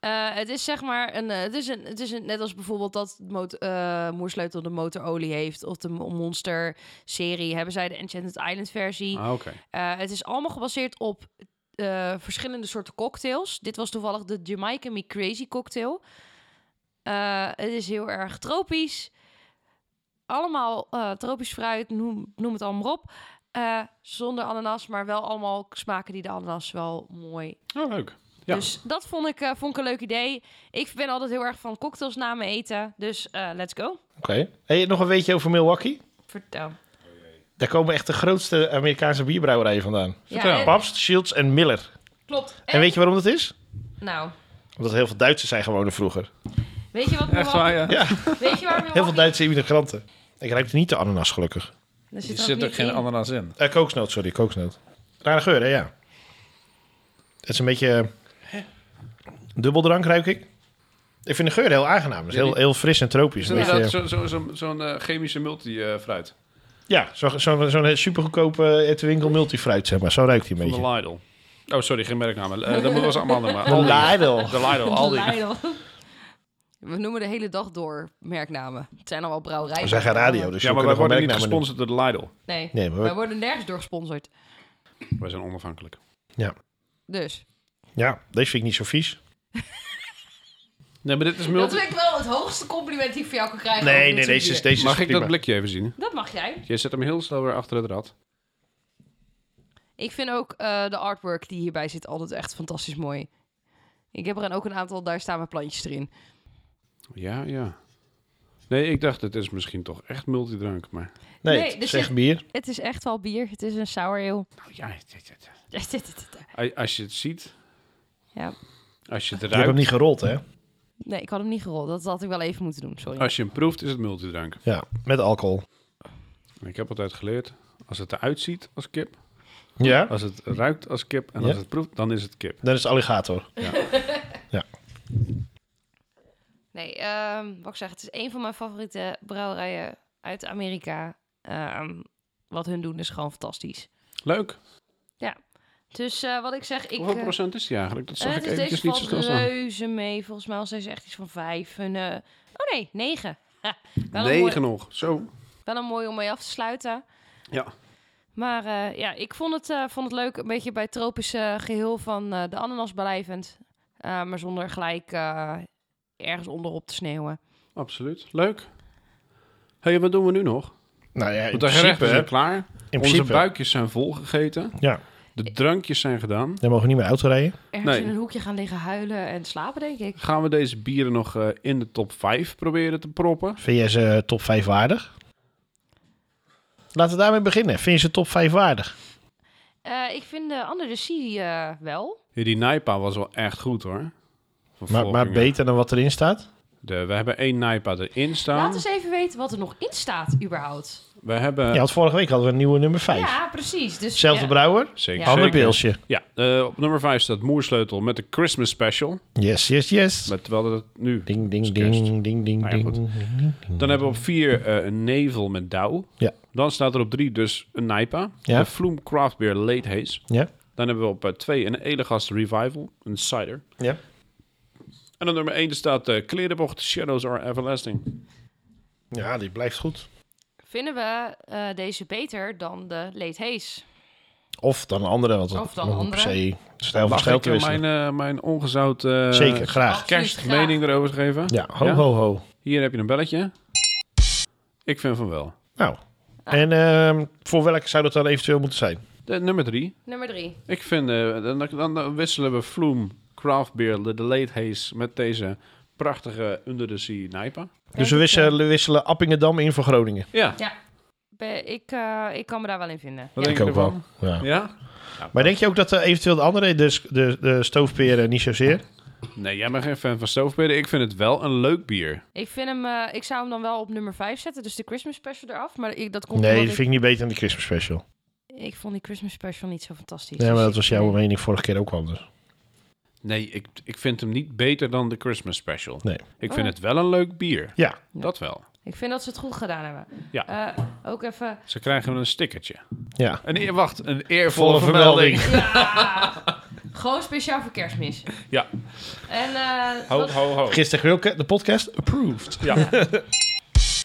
S4: Eh, het is zeg maar een, eh, het is een, het is een, net als bijvoorbeeld dat mot- eh, Moersleutel de motorolie heeft of de Monster serie, hebben zij de Enchanted Island versie.
S3: Ah, Oké.
S4: Eh, het is allemaal gebaseerd op eh, verschillende soorten cocktails. Dit was toevallig de Jamaica Me Crazy cocktail. Eh, het is heel erg tropisch. Allemaal eh, tropisch fruit, noem, noem het allemaal op. Eh, zonder ananas, maar wel allemaal smaken die de ananas wel mooi
S3: Oh, leuk. Ja.
S4: dus dat vond ik, eh, vond ik een leuk idee. Ik ben altijd heel erg van cocktails na me eten. Dus eh, let's go.
S1: Oké. Hey, nog een weetje over Milwaukee?
S4: Vertel.
S1: Daar komen echt de grootste Amerikaanse bierbrouwerijen vandaan.
S3: Vertel.
S4: eh,
S2: en-
S1: Pabst, Shields en Miller.
S2: Klopt.
S1: En weet je waarom dat is?
S2: Nou,
S1: Omdat heel veel Duitsers zijn gewonnen vroeger.
S2: weet je wat
S3: Echt
S2: Milwaukee-
S3: waar, ja.
S2: Weet je waar
S1: Heel veel Duitse immigranten. Ik ruikte niet de ananas, gelukkig.
S2: Er
S3: Er zit ook geen ananas in.
S1: Eh, kokosnoot, sorry, kokosnoot. Rare geur, hè? Ja. Het is een beetje eh, dubbeldrank, ruik ik. Ik vind de geur heel aangenaam. Het is heel, heel fris en tropisch.
S3: Is
S1: Een
S3: dat
S1: beetje,
S3: zo'n zo, zo, zo'n- zo'n, eh, chemische multi-fruit
S1: ja, zo'n zo, zo zo'n supergoedkope eh, uit de winkel multifruit, zeg maar. Zo ruikt hij een
S3: van de
S1: beetje.
S3: Lidl? Oh, sorry, geen merknamen. Eh, dat
S1: (laughs)
S3: was allemaal andere.
S1: De Lidl.
S3: De Lidl, Aldi.
S4: We noemen de hele dag door merknamen. Het zijn al wel brouwerijen.
S1: We zijn geen radio, dus
S3: Ja,
S1: we
S3: maar wij
S1: kunnen
S3: worden
S1: gewoon merknamen
S3: niet
S1: noemen.
S3: gesponsord door de Lidl.
S4: Nee,
S1: Nee, maar
S4: wij
S1: we-
S4: worden nergens door gesponsord.
S3: Wij zijn onafhankelijk.
S4: Dus.
S1: ja, deze vind ik niet zo vies.
S3: Nee, maar dit is
S2: Dat
S3: multi...
S2: vind ik wel het hoogste compliment die ik voor jou kan krijgen.
S1: Nee,
S2: over
S1: nee,
S2: dit
S1: deze
S2: soort
S1: is,
S2: bier.
S1: deze is
S3: Mag ik dat
S1: prima.
S3: blikje even zien?
S4: Dat mag jij.
S3: Je zet hem heel snel weer achter het rad.
S4: Ik vind ook eh, de artwork die hierbij zit altijd echt fantastisch mooi. Ik heb er een- ook een aantal, daar staan mijn plantjes erin.
S3: Ja, ja. Nee, ik dacht, het is misschien toch echt multidrank, maar...
S1: Nee,
S4: Nee,
S1: het
S4: er
S1: is echt
S4: zit-
S1: bier.
S4: Het is echt wel bier. Het is een sour ale. (laughs)
S3: Nou ja, als je het ziet,
S4: Ja.
S3: als je het
S1: Je hebt hem
S3: ruikt...
S1: niet gerold, hè?
S4: Nee, ik had hem niet gerold. Dat had ik wel even moeten doen, sorry.
S3: Als je hem proeft, is het multidrank.
S1: Ja, met alcohol.
S3: En ik heb altijd geleerd, als het eruit ziet als kip,
S1: Ja?
S3: als het ruikt als kip en
S1: Ja.
S3: als het proeft, dan is het kip.
S1: Dan is het alligator.
S4: Nee, ehm, wat ik zeg, het is een van mijn favoriete brouwerijen uit Amerika. Ehm, wat hun doen is gewoon fantastisch.
S3: Leuk.
S4: Dus eh, wat ik zeg, ik...
S3: Hoeveel
S4: eh,
S3: procent is die eigenlijk? Dat zag
S4: eh,
S3: ik
S4: dus
S3: eventjes
S4: deze
S3: niet zo snel
S4: valt
S3: staan.
S4: reuze mee. Volgens mij was deze echt iets van vijf. Hun, eh, oh nee, negen. (laughs) Ha, wel, een mooi,
S3: Negen nog. Zo.
S4: wel een mooi om mee af te sluiten.
S3: Ja.
S4: Maar eh, ja, ik vond het, eh, vond het leuk. Een beetje bij het tropische geheel van eh, de ananas blijvend. Eh, maar zonder gelijk eh, ergens onderop te sneeuwen.
S3: Absoluut. Leuk. Hé, hey, wat doen we nu nog?
S1: Nou ja, in
S3: Want de gerechten
S1: principe...
S3: zijn klaar.
S1: In
S3: Onze
S1: principe.
S3: buikjes zijn volgegeten.
S1: Ja,
S3: De drankjes zijn gedaan.
S1: dan mogen we niet meer auto rijden.
S4: Ergens
S3: Nee.
S4: in een hoekje gaan liggen huilen en slapen, denk ik.
S3: Gaan we deze bieren nog eh, in de top 5 proberen te proppen?
S1: Vind jij ze eh, top 5 waardig? Laten we daarmee beginnen. Vind je ze top 5 waardig?
S4: Eh, ik vind de Under the Sea eh, wel.
S3: Ja, die Nijpa was wel echt goed hoor. Van
S1: Maar, maar
S3: Volkingen.
S1: beter dan wat erin staat?
S3: De- we hebben één Nijpa erin
S2: Laat
S3: staan.
S2: eens even weten wat er nog in staat, überhaupt.
S3: We hebben...
S1: Ja, want vorige week hadden we een nieuwe nummer 5.
S2: Ja, precies. Dus
S1: Zelfde
S2: ja.
S1: brouwer,
S3: Zeker.
S1: ander
S3: zeker.
S1: pilsje.
S3: Ja, eh, op nummer 5 staat Moersleutel met de Christmas Special.
S1: Yes, yes, yes.
S3: Maar terwijl dat het nu...
S1: Ding,
S3: is
S1: ding,
S3: kerst.
S1: ding, ding, ding,
S3: Nou ja,
S1: ding,
S3: goed.
S1: ding, ding.
S3: Dan hebben we op 4 een Nevel met Douw.
S1: Ja.
S3: Dan staat er op 3 dus een Nijpa.
S1: Ja.
S3: De Vloem Craft Beer Late Haze.
S1: Ja,
S3: Dan hebben we op 2 een Elegast Revival, een cider.
S1: ja.
S3: En op nummer 1 staat eh Klerenbocht Shadows Are Everlasting.
S1: ja, die blijft goed.
S4: Vinden we eh, deze beter dan de Late Haze?
S1: Of dan een andere, want
S2: Of dan
S1: om
S2: andere.
S1: per se stijl van
S3: Mag
S1: stijl
S3: ik
S1: te
S3: eh,
S1: wisselen.
S3: mijn, eh, mijn ongezout eh,
S1: Zeker, graag.
S2: Absoluut graag.
S3: kerstmening erover geven?
S1: Ja, ho, ho, ho.
S3: Hier heb je een belletje. Ik vind van wel.
S1: Nou, en ehm, voor welke zou dat dan eventueel moeten zijn?
S3: De, nummer 3.
S2: Nummer drie.
S3: Ik vind, eh, dan, dan, dan wisselen we Vloem Craft Beer, de, de Late Haze, met deze prachtige Under the Sea Nijpa.
S1: Dus we
S2: eh,
S1: wisselen, we wisselen Appingedam in voor Groningen.
S3: Ja,
S4: Be- ik, eh, ik kan me daar wel in vinden.
S3: wat
S1: Ik
S3: denk je
S1: ook wel.
S3: ervan?
S1: Ja.
S3: Ja?
S1: Maar denk je ook dat eh, eventueel de andere, de, de, de stoofperen, niet zozeer?
S3: Nee, jij bent geen fan van stoofbeden. Ik vind het wel een leuk bier.
S4: Ik, vind hem, eh, ik zou hem dan wel op nummer 5 zetten, dus de Christmas special eraf. Maar ik, dat komt
S1: Nee, dat
S4: omdat
S1: vind ik niet beter dan de Christmas special.
S4: ik, ik vond die Christmas special niet zo fantastisch.
S1: Ja, maar
S4: Dus
S1: dat
S4: ik-
S1: was jouw
S4: nee.
S1: mening vorige keer ook anders.
S3: Nee, ik, ik vind hem niet beter dan de Christmas Special.
S1: Nee.
S3: Ik
S4: Oh.
S3: vind het wel een leuk bier.
S1: Ja,
S3: Dat wel.
S4: Ik vind dat ze het goed gedaan hebben.
S3: Ja.
S4: Eh, ook even...
S3: Ze krijgen een stickertje.
S1: ja.
S3: Een eer, wacht, een eervolle
S1: Volle
S3: vermelding.
S1: vermelding.
S3: (laughs)
S4: Ja! Gewoon speciaal voor kerstmis.
S3: Ja.
S4: En eh,
S3: Ho,
S4: wat-
S3: ho, ho.
S1: Gisteren Wilke, de podcast, approved. (laughs)
S3: Ja.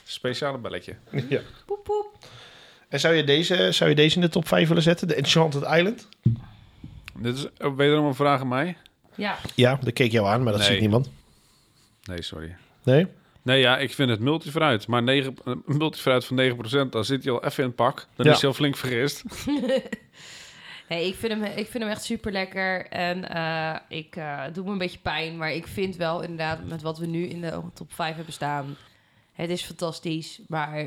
S3: Speciale belletje.
S1: Ja.
S4: poep, poep.
S1: En zou je, deze, zou je deze in de top 5 willen zetten? De Enchanted Island?
S3: Dit is eh, wederom een vraag aan mij.
S4: Ja,
S1: Ja, dat keek jou aan, maar dat
S3: Nee.
S1: ziet niemand.
S3: Nee, sorry.
S1: Nee?
S3: Nee, ja, ik vind het multifruit. Maar 9, een multifruit van 9%, dan zit hij al even in het pak. Dan
S1: Ja.
S3: is hij al flink vergist.
S4: nee, ik, vind hem, ik vind hem echt super lekker. En eh, ik eh, het doe me een beetje pijn. Maar ik vind wel inderdaad, met wat we nu in de top 5 hebben staan. Het is fantastisch. Maar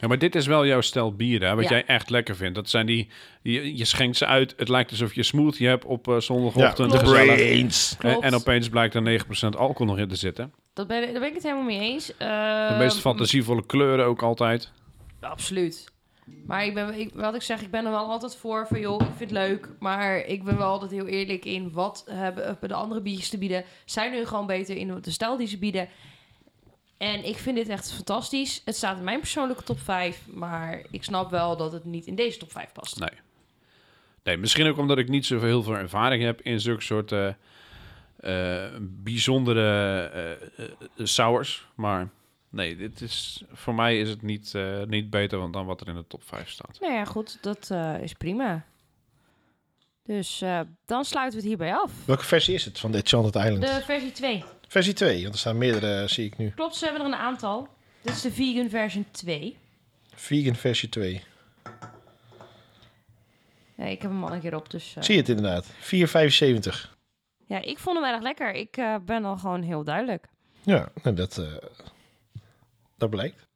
S3: Ja, maar dit is wel jouw stel bieren, hè, wat
S4: Ja.
S3: jij echt lekker vindt. Dat zijn die, je, je schenkt ze uit. Het lijkt alsof je een smoothie hebt op eh,
S1: Ja,
S3: zondagochtend.
S1: de
S3: gezellig.
S1: Brains.
S3: En,
S4: Klopt.
S3: en opeens blijkt er 9% alcohol nog in te zitten.
S4: dat ben, daar ben ik het helemaal mee eens.
S3: De
S4: Ehm,
S3: meest fantasievolle kleuren ook altijd.
S4: Absoluut. Maar ik ben, ik, wat ik zeg, ik ben er wel altijd voor van joh, ik vind het leuk. Maar ik ben wel altijd heel eerlijk in wat hebben hebben de andere biertjes te bieden. Zijn hun gewoon beter in de stijl die ze bieden. En ik vind dit echt fantastisch. Het staat in mijn persoonlijke top 5. Maar ik snap wel dat het niet in deze top 5 past.
S3: Nee. Nee, misschien ook omdat ik niet zo heel veel ervaring heb in zulke soort eh, eh, bijzondere eh, eh, eh, sours. Maar nee, dit is, voor mij is het niet, eh, niet beter dan- dan wat er in de top 5 staat.
S4: Nou ja, goed, dat eh, is prima. Dus eh, dan sluiten we het hierbij af.
S1: Welke versie is het van de Enchanted Island?
S4: De versie 2.
S1: Versie 2, want er staan meerdere, eh, zie ik nu.
S4: Klopt, ze hebben er een aantal. Dit is de vegan version 2.
S1: Vegan versie 2.
S4: Ja, ik heb hem al een keer op, dus... eh,
S1: Zie je het inderdaad. 4,75.
S4: Ja, ik vond hem erg lekker. Ik eh, ben al gewoon heel duidelijk.
S1: Ja, nou dat, eh, dat blijkt.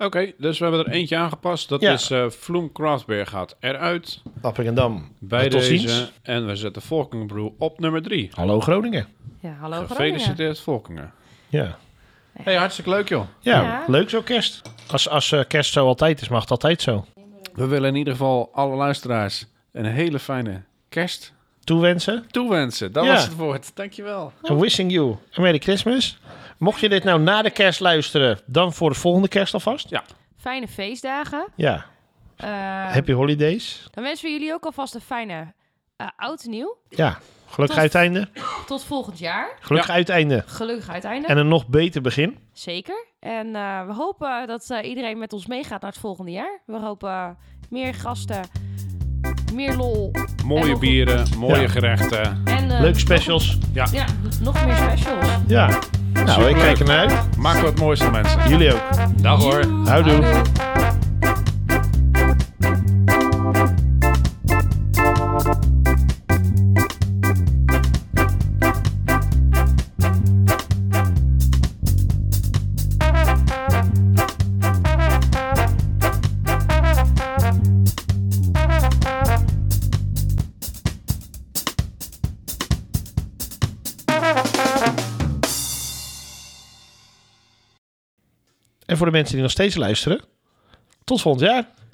S3: Oké, dus we hebben er eentje aangepast. Dat
S1: Ja.
S3: is eh Vloem Craftbeer gaat eruit
S1: Appingedam.
S3: bij
S1: tot
S3: deze.
S1: ziens.
S3: En we zetten Volkenbrew op nummer 3.
S1: Hallo Groningen.
S4: Ja, hallo Groningen.
S3: Gefeliciteerd Volkingen.
S1: Ja.
S3: hey, hartstikke leuk joh.
S1: Ja,
S4: Ja.
S1: leuk zo kerst. Als, als eh, kerst zo altijd is, mag het altijd zo.
S3: We willen in ieder geval alle luisteraars een hele fijne kerst
S1: Toewensen.
S3: toewensen. Dat
S1: Ja.
S3: was het woord. Dankjewel.
S1: En wishing you a Merry Christmas. Mocht je dit nou na de kerst luisteren, dan voor de volgende kerst alvast.
S4: Fijne feestdagen.
S1: Ja,
S4: Eh,
S1: happy holidays.
S4: Dan wensen we jullie ook alvast een fijne eh oud en nieuw.
S1: Ja, gelukkig
S2: Tot-
S1: uiteinde.
S2: Tot volgend jaar.
S1: Gelukkig uiteinde.
S4: Gelukkig uiteindelijk.
S1: En een nog beter begin.
S4: Zeker. En eh, we hopen dat eh, iedereen met ons meegaat naar het volgende jaar. We hopen meer gasten, meer lol
S3: Mooie
S4: nog-
S3: bieren, mooie
S1: Ja.
S3: gerechten.
S4: en eh,
S1: Leuke specials.
S4: nog- Ja, nog meer specials.
S1: Ja. Nou, ik
S3: Superleuk.
S1: kijk ernaar uit.
S3: Maak er wat moois van mensen.
S1: Jullie ook.
S3: Dag hoor.
S1: Houdoe. En voor de mensen die nog steeds luisteren, tot volgend jaar.